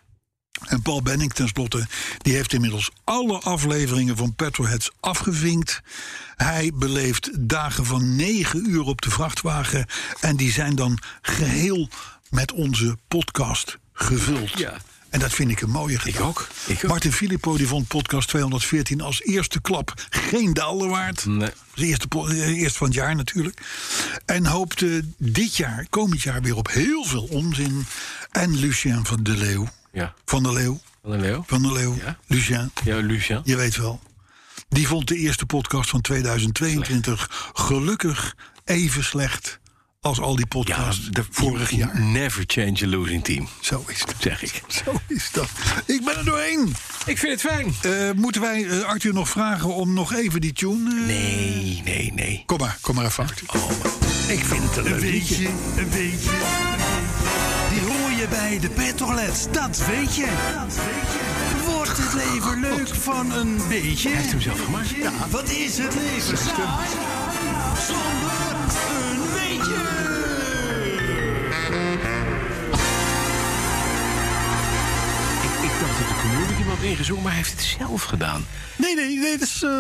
S5: En Paul Benning tenslotte, die heeft inmiddels alle afleveringen van Petrolheads afgevinkt. Hij beleeft dagen van negen uur op de vrachtwagen... en die zijn dan geheel met onze podcast gevuld.
S4: Ja.
S5: En dat vind ik een mooie gedachte.
S4: ook, ik ook.
S5: Martin Filippo die vond podcast 214 als eerste klap geen daalder waard.
S4: Nee.
S5: De eerste, po- eh, eerste van het jaar natuurlijk. En hoopte dit jaar, komend jaar, weer op heel veel onzin. En Lucien van de Leeuw.
S4: Ja.
S5: Van de Leeuw.
S4: Van der Leeuw.
S5: Van de Leeuw.
S4: Ja.
S5: Lucien.
S4: Ja, Lucien.
S5: Je weet wel. Die vond de eerste podcast van 2022 gelukkig even slecht als al die podcasts vorig jaar. *laughs*
S4: Never change a losing team,
S5: Zo is dat.
S4: zeg ik.
S5: Zo is dat. Ik ben er doorheen.
S4: Ik vind het fijn.
S5: Eh, moeten wij eh, Arthur nog vragen om nog even die tune? eh,
S4: Nee, nee, nee.
S5: Kom maar, kom maar even, Arthur.
S9: Ik vind het een beetje, een beetje. Die hoor je bij de petrolets, dat weet je. Wordt het leven leuk van een beetje? Heeft hem zelf gemaakt? Ja. Wat is het leven saai zonder een beetje?
S4: Ik dacht dat de community hem had ingezongen, maar hij heeft het zelf gedaan.
S5: Nee, nee, nee, dat is
S9: eh,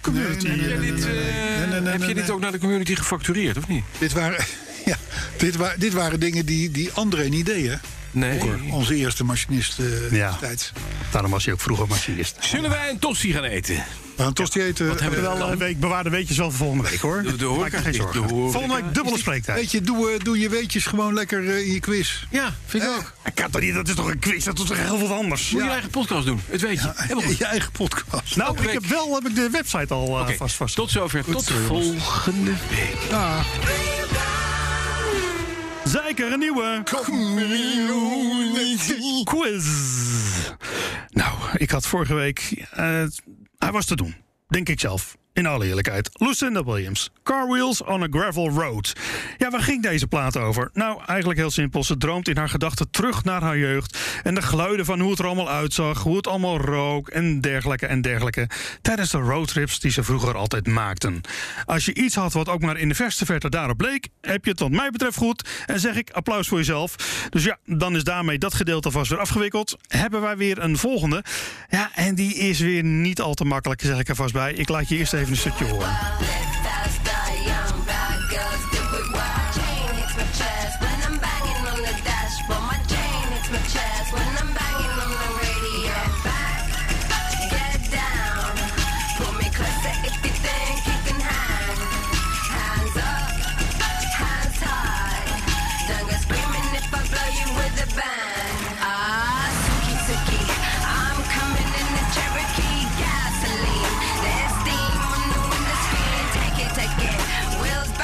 S5: community.
S4: eh, heb je dit ook naar de community gefactureerd, of niet?
S5: Dit waren, *laughs* ja, dit waren, dit waren dingen die, die André niet deed, hè?
S4: Nee.
S5: Vroeger, Onze eerste machinist eh
S10: Ja.
S5: destijds.
S10: Daarom was hij ook vroeger machinist.
S4: Zullen wij een tossie gaan eten?
S5: We gaan tosti eten.
S4: Wat hebben we
S5: eh,
S4: dan?
S10: Wel, eh, ik bewaar de weetjes wel voor volgende week
S4: De-
S10: hoor.
S4: de
S10: Maak je
S4: horeca-
S10: geen
S4: de
S10: zorgen.
S4: horeca-
S10: Volgende week dubbele spreektijd.
S5: Weet je, doe, eh, doe je weetjes gewoon lekker eh, in je quiz.
S4: Ja, vind ik
S5: Eh,
S4: ook.
S10: Ik kan toch niet, dat is toch een quiz, dat is toch heel wat anders.
S4: Moet je je eigen podcast doen, het weet je. Helemaal goed.
S5: Je eigen podcast.
S10: Nou,
S4: Elke
S10: ik heb
S4: week.
S10: wel heb ik de website al eh,
S4: Oké,
S10: vast vast.
S4: tot zover. Tot volgende week.
S10: Zeker een nieuwe quiz. Nou, ik had vorige week. eh, hij was te doen, denk ik zelf.
S9: in alle eerlijkheid. Lucinda Williams, Car Wheels on a Gravel Road. Ja, waar ging deze plaat over? Nou, eigenlijk heel simpel. Ze droomt in haar gedachten terug naar haar jeugd... en de geluiden van hoe het er allemaal uitzag, hoe het allemaal rook... en dergelijke en dergelijke, tijdens de roadtrips die ze vroeger altijd maakten. Als je iets had wat ook maar in de verste verte daarop leek... heb je het wat mij betreft goed en zeg ik applaus voor jezelf. Dus ja, dan is daarmee dat gedeelte vast weer afgewikkeld. Hebben wij weer een volgende. Ja, en die is weer niet al te makkelijk, zeg ik er vast bij. Ik laat je eerst even een stukje horen.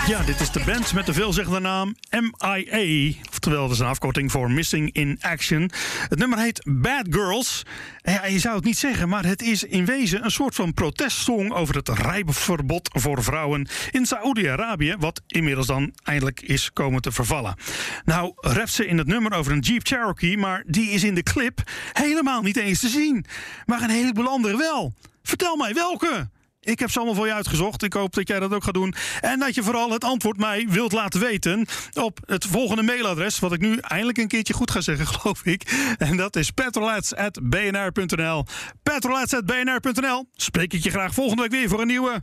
S9: Ja, dit is de band met de veelzeggende naam MIA. Oftewel, dat is een afkorting voor Missing in Action. Het nummer heet Bad Girls. Ja, je zou het niet zeggen, maar het is in wezen een soort van protestsong over het rijverbod voor vrouwen in Saoedi-Arabië, wat inmiddels dan eindelijk is komen te vervallen. Nou, rapt ze in het nummer over een Jeep Cherokee, maar die is in de clip helemaal niet eens te zien. Maar een heleboel anderen wel. Vertel mij welke. Ik heb ze allemaal voor je uitgezocht. Ik hoop dat jij dat ook gaat doen. En dat je vooral het antwoord mij wilt laten weten op het volgende mailadres. Wat ik nu eindelijk een keertje goed ga zeggen, *laughs* geloof ik. En dat is petrolets.bnr.nl. Petrolets.bnr.nl. Spreek ik je graag volgende week weer voor een nieuwe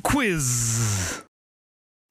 S9: quiz.